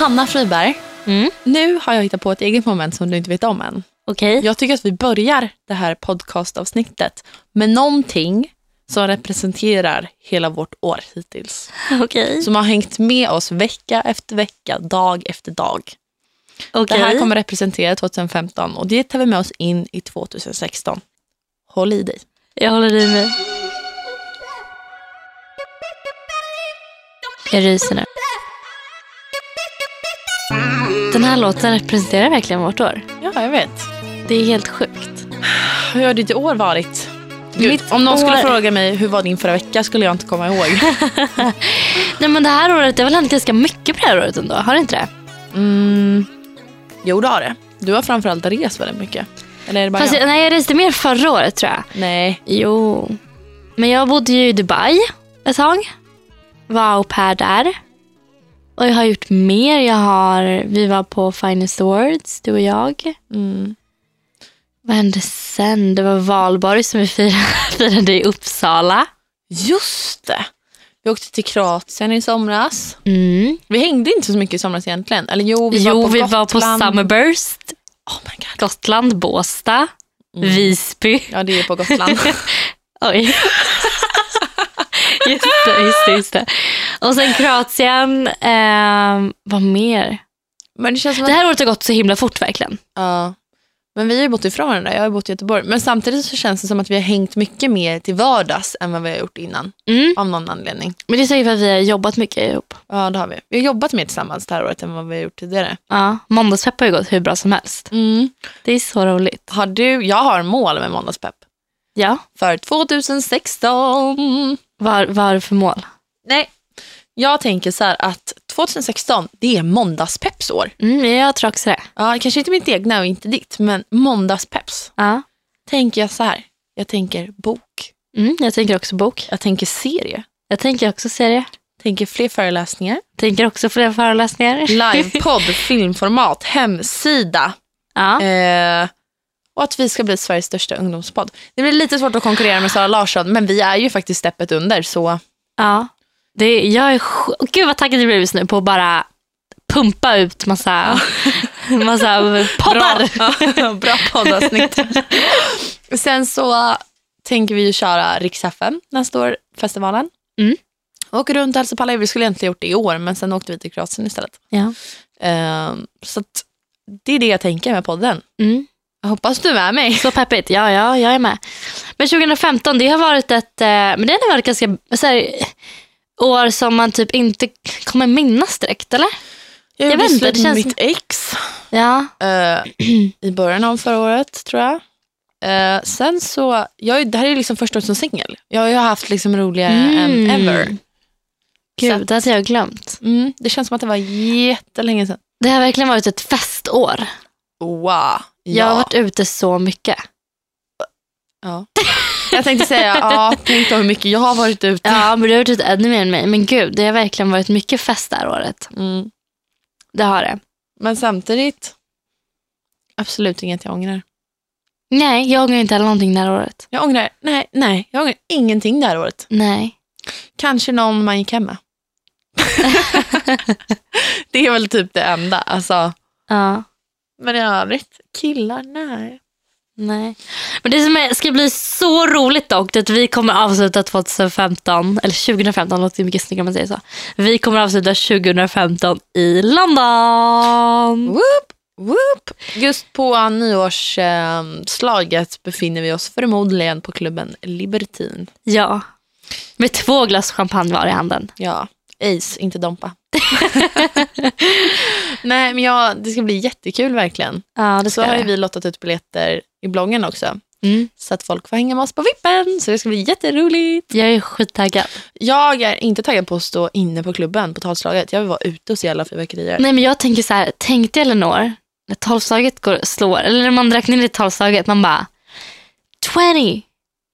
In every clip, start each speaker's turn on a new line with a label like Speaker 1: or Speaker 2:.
Speaker 1: Anna Friberg,
Speaker 2: Mm.
Speaker 1: nu har jag hittat på ett eget moment som du inte vet om än.
Speaker 2: Okej.
Speaker 1: Jag tycker att vi börjar det här podcastavsnittet med någonting som representerar hela vårt år hittills.
Speaker 2: Okej.
Speaker 1: Som har hängt med oss vecka efter vecka, dag efter dag. Det
Speaker 2: Okej.
Speaker 1: här kommer representera 2015 och det tar vi med oss in i 2016. Håll i dig.
Speaker 2: Jag håller i mig. Jag ryser nu. Den här låten representerar verkligen vårt år.
Speaker 1: Ja, jag vet.
Speaker 2: Det är helt sjukt.
Speaker 1: Hur har ditt år varit? Gud,
Speaker 2: Mitt
Speaker 1: om någon skulle
Speaker 2: år-
Speaker 1: fråga mig hur var din förra vecka skulle jag inte komma ihåg.
Speaker 2: Nej men det här året, det har väl hänt ganska mycket på det här året ändå? Har det inte det?
Speaker 1: Mm. Jo, det har det. Du har framförallt rest väldigt mycket. Eller är det bara
Speaker 2: Fast
Speaker 1: jag?
Speaker 2: jag, nej, jag reste mer förra året tror jag.
Speaker 1: Nej.
Speaker 2: Jo. Men jag bodde ju i Dubai ett tag. Var au pair där. Och jag har gjort mer. Jag har, vi var på Finest Awards, du och jag.
Speaker 1: Mm.
Speaker 2: Vad hände sen? Det var valborg som vi firade, firade i Uppsala.
Speaker 1: Just det. Vi åkte till Kroatien i somras.
Speaker 2: Mm.
Speaker 1: Vi hängde inte så mycket i somras egentligen. Eller jo, vi
Speaker 2: jo,
Speaker 1: var på
Speaker 2: vi var
Speaker 1: Gotland.
Speaker 2: på Summerburst.
Speaker 1: Oh my god.
Speaker 2: Gotland, Båstad,
Speaker 1: Mm.
Speaker 2: Visby.
Speaker 1: Ja, det är på Gotland.
Speaker 2: Oj. just det, just det, just det. Och sen Kroatien. ehm, vad mer?
Speaker 1: Men det känns som att...
Speaker 2: Det här året har gått så himla fort verkligen.
Speaker 1: Ja. Men vi har ju bott ifrån varandra. Jag har ju bott i Göteborg. Men samtidigt så känns det som att vi har hängt mycket mer till vardags än vad vi har gjort innan.
Speaker 2: Mm.
Speaker 1: Av någon anledning.
Speaker 2: Men det är säkert för att vi har jobbat mycket ihop.
Speaker 1: Ja, det har vi. Vi har jobbat mer tillsammans det här året än vad vi har gjort tidigare.
Speaker 2: Ja, måndagspepp har ju gått hur bra som helst.
Speaker 1: Mm.
Speaker 2: Det är så roligt.
Speaker 1: Har du... Jag har mål med måndagspepp.
Speaker 2: Ja,
Speaker 1: för 2016.
Speaker 2: vad vad har du för mål?
Speaker 1: Nej, jag tänker så här att 2016, det är måndagspepps år.
Speaker 2: Mm, jag tror också det.
Speaker 1: Ja, kanske inte mitt egna och inte ditt, men måndagspepps.
Speaker 2: Ja.
Speaker 1: Tänker jag så här, jag tänker bok,
Speaker 2: Mm, jag tänker också bok.
Speaker 1: jag tänker serie,
Speaker 2: Jag tänker också serie.
Speaker 1: tänker fler föreläsningar,
Speaker 2: Tänker också fler föreläsningar.
Speaker 1: livepodd, filmformat, hemsida
Speaker 2: ja.
Speaker 1: eh, och att vi ska bli Sveriges största ungdomspodd. Det blir lite svårt att konkurrera med Sara Larsson, men vi är ju faktiskt steppet under, så
Speaker 2: ja. Det, jag är sj- Gud vad taggad jag blev just nu på att bara pumpa ut massa, massa poddar.
Speaker 1: Bra, bra poddavsnitt. Sen så äh, tänker vi ju köra Rix FM nästa år, festivalen.
Speaker 2: Mm.
Speaker 1: Och runt alltså på alla, vi skulle egentligen gjort det i år, men sen åkte vi till Kroatien istället.
Speaker 2: Ja.
Speaker 1: Ehm, så att det är det jag tänker med podden.
Speaker 2: Mm.
Speaker 1: Jag hoppas du är med mig.
Speaker 2: Så peppigt. Ja, ja, jag är med. Men 2015, det har varit ett eh, men det har varit ganska så här, år som man typ inte kommer minnas direkt, eller?
Speaker 1: Jag,
Speaker 2: vet
Speaker 1: gjorde
Speaker 2: inte,
Speaker 1: slut
Speaker 2: det
Speaker 1: med
Speaker 2: känns-
Speaker 1: mitt ex
Speaker 2: Ja.
Speaker 1: eh, i början av förra året, tror jag. Eh, sen så, jag, är- det här är ju liksom första året som singel. Jag har ju haft liksom roligare
Speaker 2: Mm.
Speaker 1: än ever. Så
Speaker 2: Gud,
Speaker 1: att-
Speaker 2: det hade jag glömt.
Speaker 1: Mm, det känns som att det var jättelänge sedan.
Speaker 2: Det har verkligen varit ett festår.
Speaker 1: Wow.
Speaker 2: Jag har varit ute så mycket.
Speaker 1: Ja. Jag tänkte säga, ja, tänk då hur mycket jag har varit ute.
Speaker 2: Ja, men du har varit ute ännu mer än mig. Men gud, det har verkligen varit mycket fest det här året.
Speaker 1: Mm.
Speaker 2: Det har det.
Speaker 1: Men samtidigt, absolut inget jag ångrar.
Speaker 2: Nej, jag ångrar inte heller någonting det här året.
Speaker 1: Jag ångrar, nej, nej, jag ångrar ingenting det här året.
Speaker 2: Nej.
Speaker 1: Kanske någon man gick hem med. det är väl typ det enda. Alltså.
Speaker 2: Ja,
Speaker 1: Men i övrigt, killar, nej.
Speaker 2: nej. Men det som är, ska bli så roligt dock, det är att vi kommer avsluta 2015, eller 2015 låter ju mycket snyggare om man säger så. Vi kommer avsluta 2015 i London.
Speaker 1: Whoop, whoop. Just på nyårsslaget befinner vi oss förmodligen på klubben Libertin.
Speaker 2: Ja. Med två glas champagne var i handen.
Speaker 1: Ja, Ace, inte Dompa. Nej, men ja, det ska bli jättekul verkligen.
Speaker 2: Ja, det
Speaker 1: Så har ju vi lottat ut biljetter i bloggen också.
Speaker 2: Mm.
Speaker 1: Så att folk får hänga med oss på vippen. Så det ska bli jätteroligt.
Speaker 2: Jag är skittaggad.
Speaker 1: Jag är inte taggad på att stå inne på klubben på talslaget. Jag vill vara ute och se alla fyrverkerier.
Speaker 2: Nej men jag tänker så här, tänkte Eleanor, när tolvslaget går, slår, eller när man räknar ner tolvslaget, man bara 20,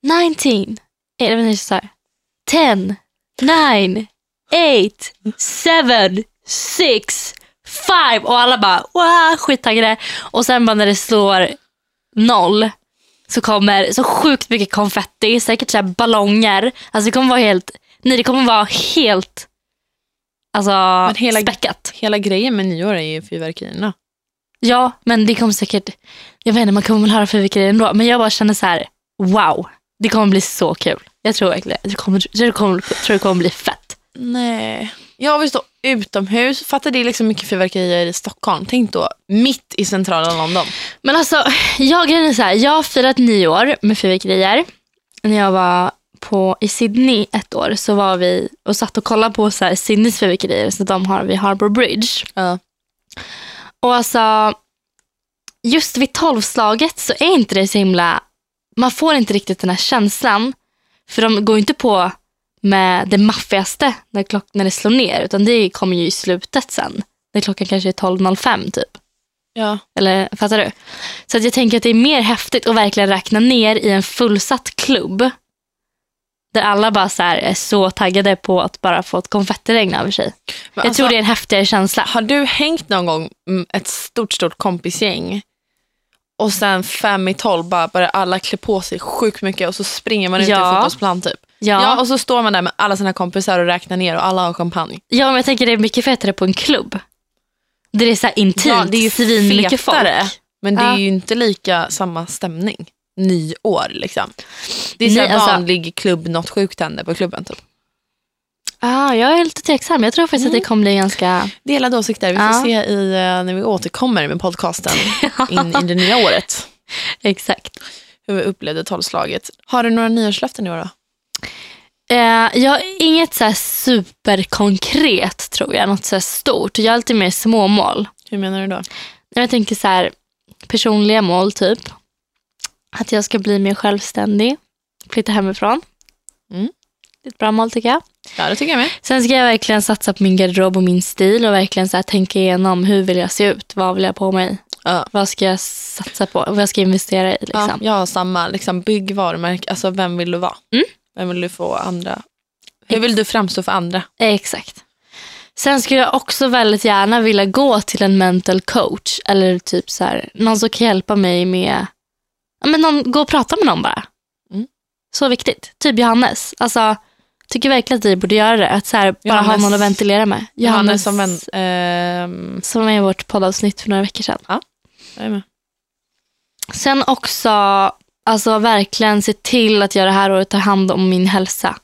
Speaker 2: 19, eller vad så här, 10, 9, 8, 7, 6, 5 och alla bara wow, skittaggade. Och sen bara när det slår noll så kommer så sjukt mycket konfetti, säkert så här ballonger. Alltså det kommer vara helt, nej det kommer vara helt Alltså
Speaker 1: hela-
Speaker 2: späckat.
Speaker 1: hela grejen med nyår är ju fyrverkerierna.
Speaker 2: Ja, men det kommer säkert, jag vet inte, man kommer väl höra fyrverkerier ändå. Men jag bara känner så här, wow, det kommer bli så kul. Jag tror verkligen, jag kommer, jag kommer, jag tror det kommer bli fett.
Speaker 1: Nej. Jag vill stå utomhus. Fatta det är liksom mycket fyrverkerier i Stockholm. Tänk då mitt i centrala London.
Speaker 2: Men alltså, jag grejen är så här, jag har firat nyår med fyrverkerier. När jag var på, i Sydney ett år så var vi och satt och kollade på så här, Sydneys fyrverkerier så de har vid Harbour Bridge.
Speaker 1: Ja.
Speaker 2: Och alltså, just vid tolvslaget så är inte det så himla, man får inte riktigt den här känslan. För de går ju inte på med det maffigaste när, klock, när det slår ner, utan det kommer ju i slutet sen. När klockan kanske är 12.05 typ.
Speaker 1: Ja.
Speaker 2: Eller fattar du? Så att jag tänker att det är mer häftigt att verkligen räkna ner i en fullsatt klubb. Där alla bara så här är så taggade på att bara få ett konfettiregn över sig.
Speaker 1: Men
Speaker 2: jag
Speaker 1: alltså,
Speaker 2: tror det är en häftigare känsla.
Speaker 1: Har du hängt någon gång mm, ett stort, stort kompisgäng och sen fem i tolv bara börjar alla klä på sig sjukt mycket och så springer man ut i
Speaker 2: Ja.
Speaker 1: en fotbollsplan typ.
Speaker 2: Ja.
Speaker 1: Ja, och så står man där med alla sina kompisar och räknar ner och alla har champagne.
Speaker 2: Ja, men jag tänker det är mycket fetare på en klubb. Där det är så här intimt,
Speaker 1: Ja, det är ju
Speaker 2: svinmycket folk.
Speaker 1: Typ. fetare. Men det är
Speaker 2: Ja.
Speaker 1: ju inte lika samma stämning. Nyår liksom. Det är så
Speaker 2: Nej,
Speaker 1: här
Speaker 2: alltså-
Speaker 1: vanlig klubb, något sjukt händer på klubben typ.
Speaker 2: Ja, Ah, jag är lite tveksam. Jag tror faktiskt att det kommer bli ganska...
Speaker 1: Delade åsikter. Vi får
Speaker 2: Ja.
Speaker 1: se i, eh, när vi återkommer med podcasten in i det nya året.
Speaker 2: Exakt.
Speaker 1: Hur vi upplevde tolvslaget. Har du några nyårslöften i år då?
Speaker 2: Eh, jag har inget så här superkonkret tror jag, något så här stort. Jag har alltid mer småmål.
Speaker 1: Hur menar du då?
Speaker 2: Jag tänker så här personliga mål typ. Att jag ska bli mer självständig, flytta hemifrån.
Speaker 1: Mm.
Speaker 2: Det är ett bra mål tycker jag.
Speaker 1: Ja, det tycker jag med.
Speaker 2: Sen ska jag verkligen satsa på min garderob och min stil och verkligen så här tänka igenom hur vill jag se ut, vad vill jag ha på mig.
Speaker 1: Ja.
Speaker 2: Vad ska jag satsa på? Vad ska jag investera i? Liksom?
Speaker 1: jag har samma. Liksom, bygg varumärke. Alltså, vem vill du vara?
Speaker 2: Mm.
Speaker 1: Vem vill du få andra? Hur vill du framstå för andra?
Speaker 2: Eh, Exakt. Sen skulle jag också väldigt gärna vilja gå till en mental coach eller typ så här, någon som kan hjälpa mig med... ja, Men någon, gå och prata med någon bara.
Speaker 1: Mm.
Speaker 2: Så viktigt. Typ Johannes. Alltså, tycker verkligen att vi borde göra det. Att så här, bara ha
Speaker 1: Johannes-
Speaker 2: någon att ventilera med.
Speaker 1: Johannes som vän. ehm,
Speaker 2: som var med i vårt poddavsnitt för några veckor sedan.
Speaker 1: jag är med.
Speaker 2: Sen också alltså verkligen se till att jag det här året tar hand om min hälsa.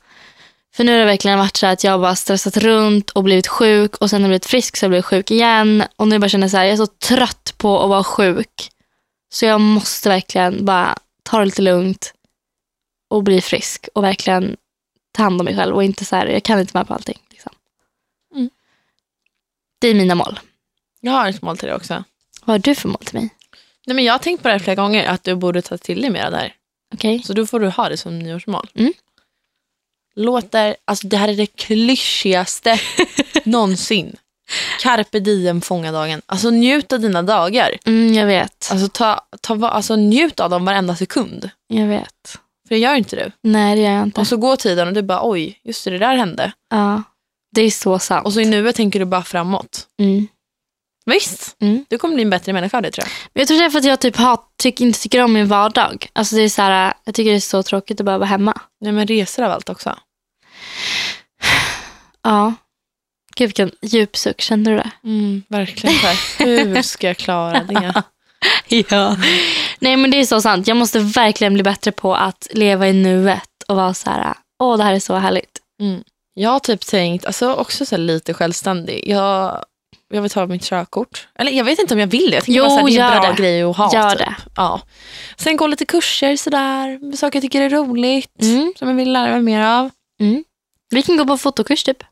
Speaker 2: För nu har det verkligen varit så här att jag har bara stressat runt och blivit sjuk och sen har jag blivit frisk så har jag blivit sjuk igen. Och nu bara känner jag så här, jag är så trött på att vara sjuk. Så jag måste verkligen bara ta det lite lugnt och bli frisk och verkligen ta hand om mig själv och inte så här, jag kan inte med på allting. Liksom.
Speaker 1: Mm.
Speaker 2: Det är mina mål.
Speaker 1: Jag har ett mål till dig också.
Speaker 2: Vad har du för mål till mig?
Speaker 1: Nej, men jag har tänkt på det här flera gånger, att du borde ta till dig mer där.
Speaker 2: Okej?
Speaker 1: Så då får du ha det som nyårsmål.
Speaker 2: Mm.
Speaker 1: Låter, alltså det här är det klyschigaste någonsin. Carpe diem fånga dagen. Alltså njut av dina dagar.
Speaker 2: Mm, jag vet.
Speaker 1: Alltså, ta, ta, va- alltså njut av dem varenda sekund.
Speaker 2: Jag vet.
Speaker 1: För det gör inte du.
Speaker 2: Nej, det gör jag inte.
Speaker 1: Och så går tiden och du bara oj, just det, det där hände.
Speaker 2: Ja, det är så sant.
Speaker 1: Och så i nuet tänker du bara framåt.
Speaker 2: Mm.
Speaker 1: Visst,
Speaker 2: Mm.
Speaker 1: du kommer bli en bättre människa av det tror jag.
Speaker 2: Men Jag tror det är för att jag typ hat, tyck, inte tycker om min vardag. Alltså det är så här, jag tycker det är så tråkigt att bara vara hemma.
Speaker 1: Nej men resor av allt också.
Speaker 2: Ja. Gud vilken djup suck, kände du det?
Speaker 1: Mm, verkligen. Så här, hur ska jag klara det?
Speaker 2: Ja. Nej men det är så sant. Jag måste verkligen bli bättre på att leva i nuet och vara så här, åh det här är så härligt.
Speaker 1: Jag har typ tänkt, alltså också så här lite självständig. Jag, jag vill ta mitt körkort. Eller jag vet inte om jag vill det. Jag tänker
Speaker 2: Jo,
Speaker 1: bara så här, det är
Speaker 2: gör
Speaker 1: en bra
Speaker 2: det.
Speaker 1: grej att ha.
Speaker 2: Gör
Speaker 1: typ.
Speaker 2: det.
Speaker 1: Ja. Sen gå lite kurser sådär, med saker jag tycker är roligt,
Speaker 2: Mm.
Speaker 1: som jag vill lära mig mer av.
Speaker 2: Vi kan gå på fotokurs typ.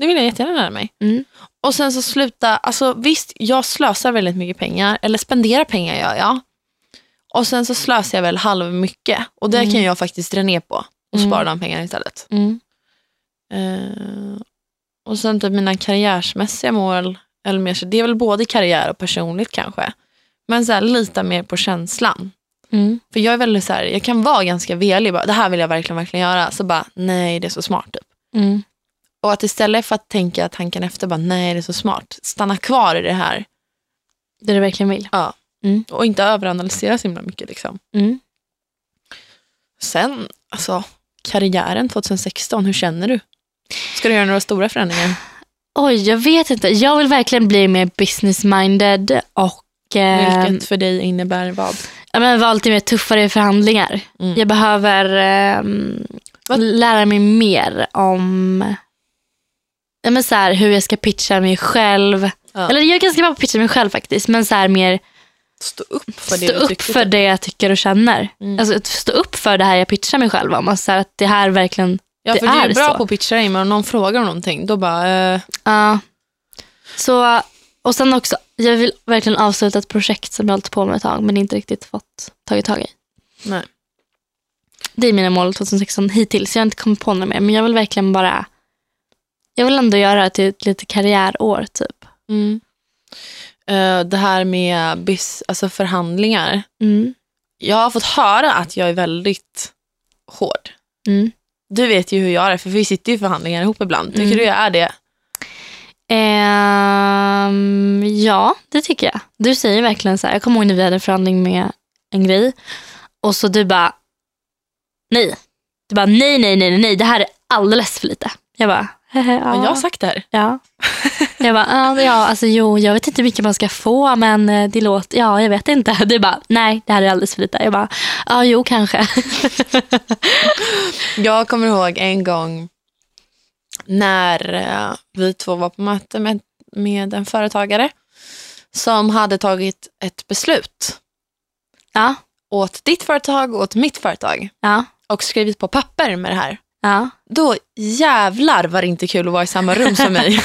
Speaker 1: Det vill jag jättegärna lära mig.
Speaker 2: Mm.
Speaker 1: Och sen så sluta, alltså visst jag slösar väldigt mycket pengar, eller spenderar pengar gör jag. Och sen så slösar jag väl halv mycket och det
Speaker 2: Mm.
Speaker 1: kan jag faktiskt dra ner på och
Speaker 2: Mm.
Speaker 1: spara de pengarna istället.
Speaker 2: Mm.
Speaker 1: Eh, och sen typ mina karriärsmässiga mål, eller mer, så det är väl både karriär och personligt kanske. Men så här, lita mer på känslan.
Speaker 2: Mm.
Speaker 1: För jag är väldigt så här, jag kan vara ganska velig, bara, det här vill jag verkligen, verkligen göra. Så bara, nej det är så smart typ.
Speaker 2: Mm.
Speaker 1: Och att istället för att tänka tanken efter, bara nej det är så smart. Stanna kvar i det här
Speaker 2: Det du verkligen vill.
Speaker 1: och inte överanalysera så himla mycket. Liksom.
Speaker 2: Mm.
Speaker 1: Sen, alltså karriären 2016, hur känner du? Ska du göra några stora förändringar?
Speaker 2: Oj, jag vet inte. Jag vill verkligen bli mer business-minded och eh,
Speaker 1: Vilket för dig innebär vad?
Speaker 2: ja, men vara lite mer tuffare i förhandlingar.
Speaker 1: Mm.
Speaker 2: Jag behöver ehm,
Speaker 1: Vad-
Speaker 2: lära mig mer om ja, men så här, hur jag ska pitcha mig själv.
Speaker 1: Ja.
Speaker 2: Eller jag är ganska bra på att pitcha mig själv faktiskt, men så här, mer
Speaker 1: Stå upp för det
Speaker 2: stå
Speaker 1: du
Speaker 2: upp
Speaker 1: tycker. typ.
Speaker 2: för det jag tycker och känner.
Speaker 1: Mm.
Speaker 2: Alltså att stå upp för det här jag pitchar mig själv om. Alltså, så här, att det här verkligen,
Speaker 1: ja,
Speaker 2: det
Speaker 1: för du är
Speaker 2: är
Speaker 1: bra
Speaker 2: så.
Speaker 1: på att pitcha dig, men om någon frågar om någonting, då bara... eh,
Speaker 2: ja. så, och sen också, jag vill verkligen avsluta ett projekt som jag har hållit på med ett tag, men inte riktigt fått tagit tag i.
Speaker 1: nej.
Speaker 2: Det är mina mål 2016 hittills. Jag har inte kommit på något mer, men jag vill verkligen bara... Jag vill ändå göra det till ett lite karriärår, typ.
Speaker 1: Mm. Eh, det här med bis, alltså förhandlingar.
Speaker 2: Mm.
Speaker 1: Jag har fått höra att jag är väldigt hård.
Speaker 2: Mm.
Speaker 1: Du vet ju hur jag är, för vi sitter ju i förhandlingar ihop ibland. Tycker
Speaker 2: Mm.
Speaker 1: du jag är det?
Speaker 2: Ehm, ja, det tycker jag. Du säger verkligen så här, jag kommer ihåg när vi hade en förhandling med en grej och så du bara, nej. Du bara, nej, nej, nej, nej, det här är alldeles för lite. Jag bara, hehe,
Speaker 1: Har
Speaker 2: ja.
Speaker 1: jag sagt det här?
Speaker 2: ja. Jag bara, ja, ja, alltså jo, jag vet inte hur mycket man ska få, men eh, det låter, ja, jag vet inte. Du bara, nej, det här är alldeles för lite. Jag bara, ja, jo, kanske.
Speaker 1: Jag kommer ihåg en gång när eh, vi två var på möte med, med en företagare som hade tagit ett beslut
Speaker 2: Ja,
Speaker 1: åt ditt företag och åt mitt företag
Speaker 2: ja,
Speaker 1: och skrivit på papper med det här.
Speaker 2: ja.
Speaker 1: Då jävlar var det inte kul att vara i samma rum som mig.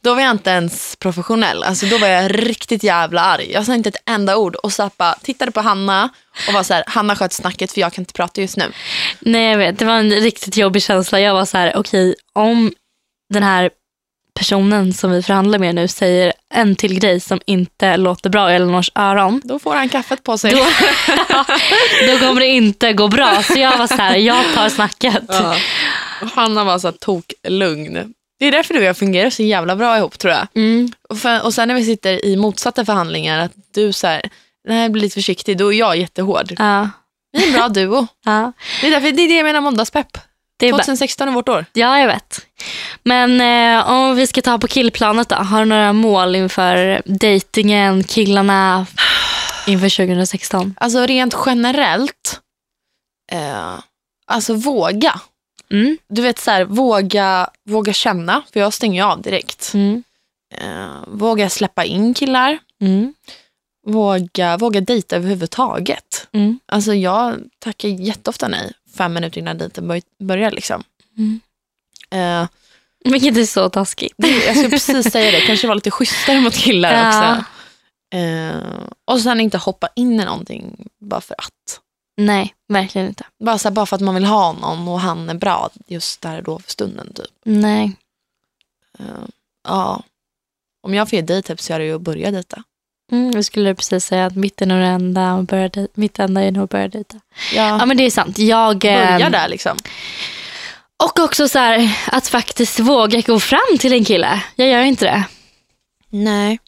Speaker 1: då var jag inte ens professionell. Alltså, då var jag riktigt jävla arg. Jag sa inte ett enda ord och Zappa tittade på Hanna och var så här, Hanna sköt snacket för jag kan inte prata just nu.
Speaker 2: Nej jag vet, det var en riktigt jobbig känsla. Jag var så här, okej om den här personen som vi förhandlar med nu säger en till grej som inte låter bra i Elinors öron,
Speaker 1: Då får han kaffet på sig.
Speaker 2: då, då kommer det inte gå bra. Så jag var så här, jag tar snacket.
Speaker 1: Ja. Och Hanna var så här toklugn. Det är därför du och jag fungerar så jävla bra ihop tror jag.
Speaker 2: Mm,
Speaker 1: Och, för, och sen när vi sitter i motsatta förhandlingar, att du så här, nej bli lite försiktig, då är jag jättehård.
Speaker 2: ja,
Speaker 1: Vi är en bra duo.
Speaker 2: ja.
Speaker 1: Det är, därför, det, är det jag menar måndagspepp.
Speaker 2: Det är bara,
Speaker 1: 2016 är vårt år.
Speaker 2: ja, jag vet. Men eh, om vi ska ta på killplanet då, har du några mål inför dejtingen, killarna inför 2016?
Speaker 1: Alltså rent generellt, eh, alltså våga.
Speaker 2: Mm,
Speaker 1: Du vet så här, våga, våga känna, för jag stänger ju av direkt.
Speaker 2: mm,
Speaker 1: Eh, våga släppa in killar,
Speaker 2: mm,
Speaker 1: våga, våga dejta överhuvudtaget.
Speaker 2: mm.
Speaker 1: Alltså jag tackar jätteofta nej fem minuter innan dejten börj- börjar. Liksom.
Speaker 2: Mm.
Speaker 1: Eh,
Speaker 2: Vilket är så taskigt.
Speaker 1: det, jag skulle precis säga det, kanske vara lite schysstare mot killar
Speaker 2: Ja.
Speaker 1: också. Eh, och sen inte hoppa in i någonting bara för att.
Speaker 2: Nej, verkligen inte.
Speaker 1: Bara, så här, bara för att man vill ha någon och han är bra just där och då för stunden. Typ.
Speaker 2: Nej.
Speaker 1: Eh, ja. Om jag får ge dig tips så är det ju att börja dejta.
Speaker 2: Mm, jag skulle precis säga att mitt är nog det enda och börja dej- mitt enda är nog att börja dejta. Ja
Speaker 1: Ja,
Speaker 2: men det är sant. Jag, eh,
Speaker 1: börja där liksom.
Speaker 2: Och också så här, att faktiskt våga gå fram till en kille. Jag gör inte det.
Speaker 1: Nej.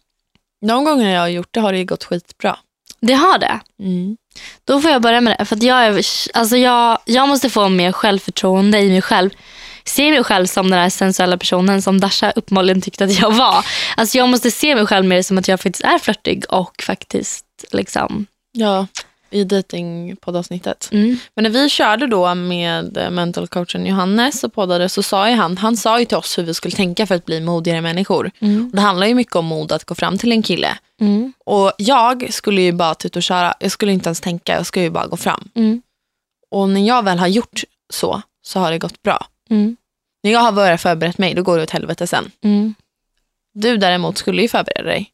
Speaker 1: De gånger jag har gjort det har det ju gått skitbra.
Speaker 2: Det har det. Mm. Då får jag börja med det. För att jag, är, alltså jag, jag måste få mer självförtroende i mig själv. Se mig själv som den här sensuella personen som Dasha uppenbarligen tyckte att jag var. Alltså jag måste se mig själv mer som att jag faktiskt är flörtig och faktiskt liksom...
Speaker 1: Ja, i dejtingpoddavsnittet.
Speaker 2: Mm.
Speaker 1: Men när vi körde då med eh, mental coachen Johannes och poddade så sa ju han, han sa ju till oss hur vi skulle tänka för att bli modigare människor.
Speaker 2: Mm.
Speaker 1: Det handlar ju mycket om mod att gå fram till en kille.
Speaker 2: Mm.
Speaker 1: Och jag skulle ju bara tuta och köra, jag skulle inte ens tänka, jag skulle ju bara gå fram.
Speaker 2: Mm.
Speaker 1: Och när jag väl har gjort så, så har det gått bra.
Speaker 2: Mm.
Speaker 1: När jag har börjat förberett mig, då går det åt helvete sen.
Speaker 2: Mm.
Speaker 1: Du däremot skulle ju förbereda dig.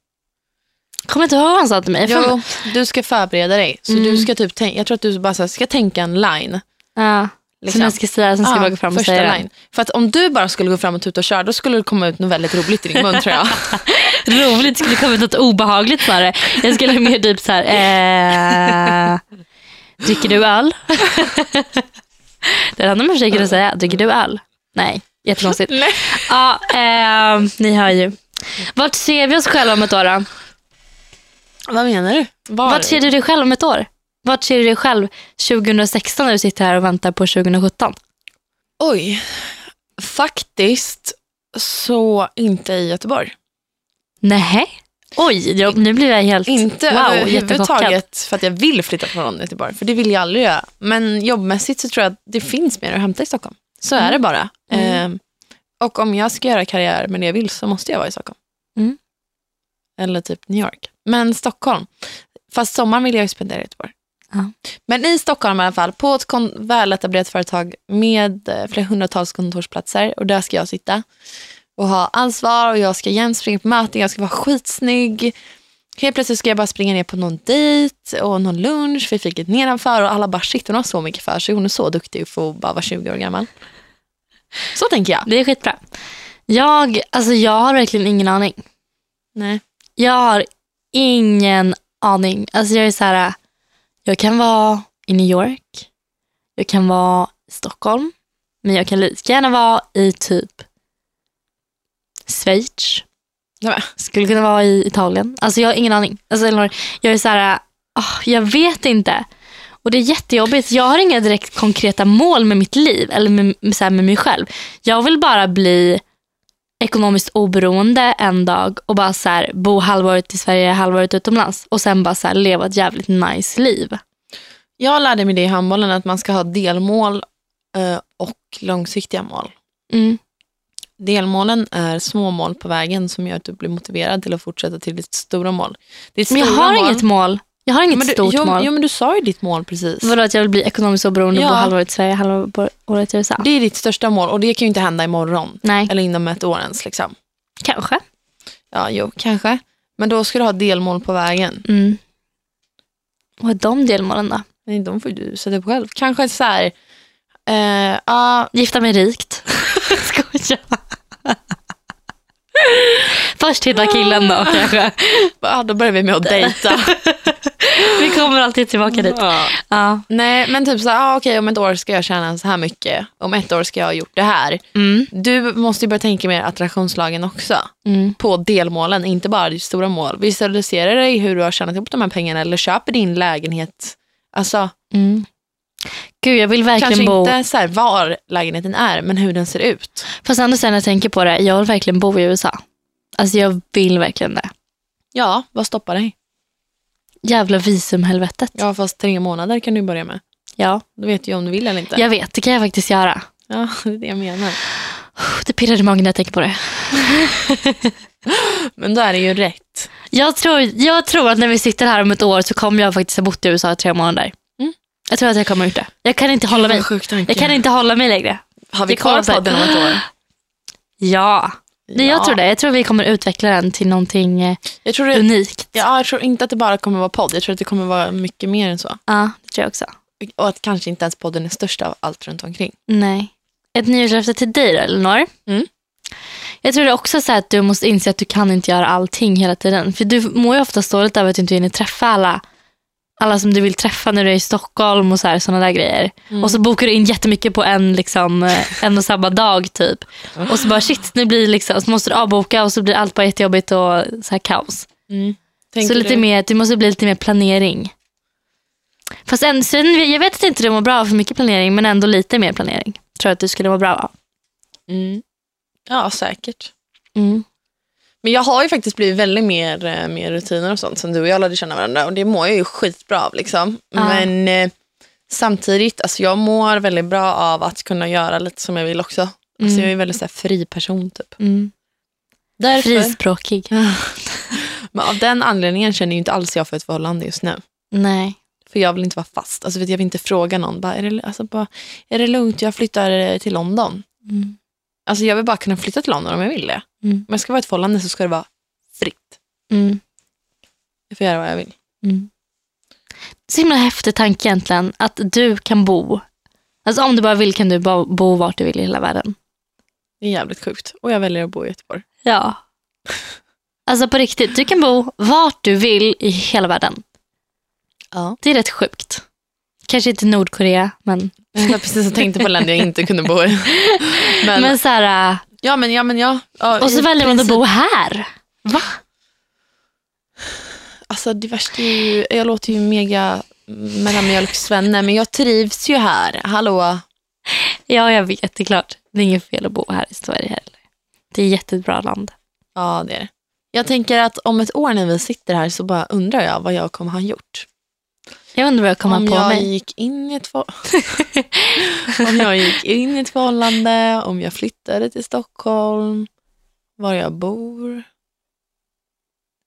Speaker 2: Kommer inte ihåg vad han sa till mig.
Speaker 1: Jo, du ska förbereda dig. Så
Speaker 2: Mm.
Speaker 1: du ska typ tänka, jag tror att du bara så här, ska tänka en line.
Speaker 2: Ja. Som jag ska säga, som ska
Speaker 1: Liksom. Ja,
Speaker 2: jag gå fram och
Speaker 1: första
Speaker 2: säga
Speaker 1: line. För att om du bara skulle gå fram och tuta och köra, då skulle det komma ut något väldigt roligt i din mun tror jag.
Speaker 2: det. Roligt, det skulle komma ut något obehagligt snarare. Jag skulle mer typ så här, eh, dricker du öl? det hade man försökt att säga, dricker du öl? Nej, jättekonstigt.
Speaker 1: Nej.
Speaker 2: Ja, eh, ni hör ju. Vart ser vi oss själva om ett år då?
Speaker 1: Vad menar du? Var?
Speaker 2: Vart ser du dig själv om ett år? Vart ser du dig själv 2016 när du sitter här och väntar på 2017?
Speaker 1: Oj, faktiskt så inte i Göteborg.
Speaker 2: Nej. Oj, jag, nu blir jag helt...
Speaker 1: Inte
Speaker 2: wow, jättechockad.
Speaker 1: överhuvudtaget för att jag vill flytta från Göteborg, för det vill jag aldrig göra. Men jobbmässigt så tror jag att det finns mer att hämta i Stockholm. Så är
Speaker 2: Mm.
Speaker 1: det bara. Ehm, och om jag ska göra karriär med det jag vill så måste jag vara i Stockholm.
Speaker 2: Mm.
Speaker 1: Eller typ New York. Men Stockholm. Fast sommaren vill jag ju spendera i Göteborg.
Speaker 2: Ja.
Speaker 1: Men i Stockholm i alla fall, på ett kon- väletablerat företag med eh, flera hundratals kontorsplatser och där ska jag sitta och ha ansvar och jag ska jämt springa på möten, jag ska vara skitsnygg. Helt plötsligt ska jag bara springa ner på någon dejt och någon lunch, vi fick ett nedanför och alla bara shit hon har så mycket för sig, hon är så duktig för att bara vara 20 år gammal. Så tänker jag.
Speaker 2: Det är skitbra. Jag, alltså jag har verkligen ingen aning.
Speaker 1: Nej.
Speaker 2: Jag har ingen aning. Alltså jag är så här, jag kan vara i New York, jag kan vara i Stockholm, men jag kan lika gärna vara i typ Schweiz.
Speaker 1: Nej, men.
Speaker 2: Skulle kunna vara i Italien. Alltså jag har ingen aning. Alltså Elinor, jag är så här, ah, jag vet inte. Och det är jättejobbigt. Jag har inga direkt konkreta mål med mitt liv eller med, med, så här, med mig själv. Jag vill bara bli ekonomiskt oberoende en dag och bara så här, bo halvåret i Sverige, halvåret utomlands och sen bara så här, leva ett jävligt nice liv.
Speaker 1: Jag lärde mig det i handbollen att man ska ha delmål eh, och långsiktiga mål.
Speaker 2: Mm.
Speaker 1: Delmålen är små mål på vägen som gör att du blir motiverad till att fortsätta till ditt stora mål. Ditt
Speaker 2: Men jag
Speaker 1: stora
Speaker 2: har
Speaker 1: mål-
Speaker 2: inget mål. Jag har inget
Speaker 1: men du,
Speaker 2: stort
Speaker 1: jo,
Speaker 2: mål.
Speaker 1: Jo, men du sa ju ditt mål precis.
Speaker 2: Vadå att jag vill bli ekonomiskt oberoende och
Speaker 1: Ja.
Speaker 2: bo halvåret i Sverige, halvåret i USA?
Speaker 1: Det är ditt största mål och det kan ju inte hända imorgon.
Speaker 2: Nej,
Speaker 1: Eller inom ett år ens. Liksom.
Speaker 2: kanske.
Speaker 1: Ja, jo, kanske. Men då ska du ha delmål på vägen.
Speaker 2: Mm. Vad är de delmålen då?
Speaker 1: Nej, de får ju du sätta upp själv. Kanske så här, eh, ja,
Speaker 2: Gifta mig rikt. Skoja. Först hitta killen då kanske.
Speaker 1: ja, då börjar vi med att dejta.
Speaker 2: Vi kommer alltid tillbaka dit.
Speaker 1: Ja.
Speaker 2: Ja.
Speaker 1: Nej, men typ så här, ah, okej om ett år ska jag tjäna så här mycket. Om ett år ska jag ha gjort det här.
Speaker 2: Mm.
Speaker 1: Du måste ju börja tänka mer attraktionslagen också.
Speaker 2: Mm.
Speaker 1: på delmålen, inte bara ditt stora mål. Visualisera dig hur du har tjänat ihop de här pengarna eller köper din lägenhet. Alltså,
Speaker 2: Mm. Gud, jag vill verkligen
Speaker 1: kanske
Speaker 2: bo...
Speaker 1: inte så här var lägenheten är, men hur den ser ut.
Speaker 2: Fast ändå sen när jag tänker på det, jag vill verkligen bo i USA. Alltså jag vill verkligen det.
Speaker 1: Ja, vad stoppar dig?
Speaker 2: Jävla visumhelvetet.
Speaker 1: Ja, fast tre månader kan du börja med.
Speaker 2: Ja,
Speaker 1: Då vet du ju om du vill eller inte.
Speaker 2: jag vet. Det kan jag faktiskt göra.
Speaker 1: Ja, det är det jag menar.
Speaker 2: Det pirrar i magen när jag tänker på det.
Speaker 1: Men då är det ju rätt.
Speaker 2: Jag tror, jag tror att när vi sitter här om ett år så kommer jag faktiskt ha bott i USA i tre månader.
Speaker 1: Mm.
Speaker 2: Jag tror att jag kommer ha gjort det. Jag kan inte hålla mig.
Speaker 1: Sjuk tanke.
Speaker 2: Jag kan inte hålla mig längre.
Speaker 1: Har vi
Speaker 2: jag kollar
Speaker 1: kvar
Speaker 2: på-
Speaker 1: podden om ett år?
Speaker 2: Ja. Nej,
Speaker 1: Ja.
Speaker 2: Jag tror det. Jag tror vi kommer utveckla den till någonting eh,
Speaker 1: Jag tror, det,
Speaker 2: unikt.
Speaker 1: ja, jag tror inte att det bara kommer vara podd. Jag tror att det kommer vara mycket mer än så.
Speaker 2: Ja, det tror jag också.
Speaker 1: Och att kanske inte ens podden är störst av allt runt omkring.
Speaker 2: Nej. Ett nyårslöfte till dig då, Elinor.
Speaker 1: Mm.
Speaker 2: Jag tror det är också så här att du måste inse att du kan inte göra allting hela tiden. För du mår ju oftast dåligt över att du inte hinner träffa alla, alla som du vill träffa när du är i Stockholm och så här, sådana där grejer. Och så bokar du in jättemycket på en, liksom, eh, en och samma dag typ. Och så bara shit, nu blir det liksom, så måste du avboka och så blir allt bara jättejobbigt och så här kaos.
Speaker 1: Tänker
Speaker 2: så lite
Speaker 1: du-
Speaker 2: mer, det måste bli lite mer planering. Fast än, sen, jag vet att inte du mår bra av för mycket planering, men ändå lite mer planering. Tror jag att du skulle må bra av.
Speaker 1: Mm. Ja, säkert. Mm, Men jag har ju faktiskt blivit väldigt mer eh, mer rutiner och sånt sen du och jag lärde känna varandra och det mår jag ju skitbra av. Liksom.
Speaker 2: Ja.
Speaker 1: Men eh, samtidigt, alltså jag mår väldigt bra av att kunna göra lite som jag vill också. Alltså
Speaker 2: Mm.
Speaker 1: jag är ju väldigt så här, fri person typ.
Speaker 2: Mm.
Speaker 1: Därför,
Speaker 2: Frispråkig.
Speaker 1: Men av den anledningen känner ju inte alls jag för ett förhållande just nu.
Speaker 2: Nej.
Speaker 1: För jag vill inte vara fast. Alltså, vet, du, jag vill inte fråga någon. Bara, är, det, alltså, bara, är det lugnt, jag flyttar eh, till London.
Speaker 2: Mm.
Speaker 1: Alltså, jag vill bara kunna flytta till London om jag vill det.
Speaker 2: Mm.
Speaker 1: Om jag ska vara i ett förhållande så ska det vara fritt.
Speaker 2: Mm.
Speaker 1: Jag får göra vad jag vill.
Speaker 2: Mm. Så himla häftig tanke egentligen, att du kan bo. Alltså om du bara vill kan du bara bo vart du vill i hela världen.
Speaker 1: Det är jävligt sjukt. Och jag väljer att bo i Göteborg.
Speaker 2: Ja. Alltså på riktigt, du kan bo vart du vill i hela världen.
Speaker 1: Ja.
Speaker 2: Det är rätt sjukt. Kanske inte Nordkorea, men...
Speaker 1: Jag var precis och tänkte på länder jag inte kunde bo i. Men,
Speaker 2: men så här, äh,
Speaker 1: ja, men ja, men ja. ja
Speaker 2: och så
Speaker 1: i
Speaker 2: väljer man att
Speaker 1: princip-
Speaker 2: bo här. Va?
Speaker 1: Alltså det värsta är ju, jag låter ju mega mellanmjölksvenne, men jag trivs ju här. Hallå.
Speaker 2: Ja, jag vet. Det är klart. Det är inget fel att bo här i Sverige heller. Det är ett jättebra land.
Speaker 1: Ja, det är det. Jag tänker att om ett år när vi sitter här så bara undrar jag vad jag kommer ha gjort.
Speaker 2: Jag undrar vad jag kommer
Speaker 1: om
Speaker 2: på
Speaker 1: jag
Speaker 2: mig.
Speaker 1: gick in i ett för... om jag gick in i ett förhållande, om jag flyttade till Stockholm, var jag bor,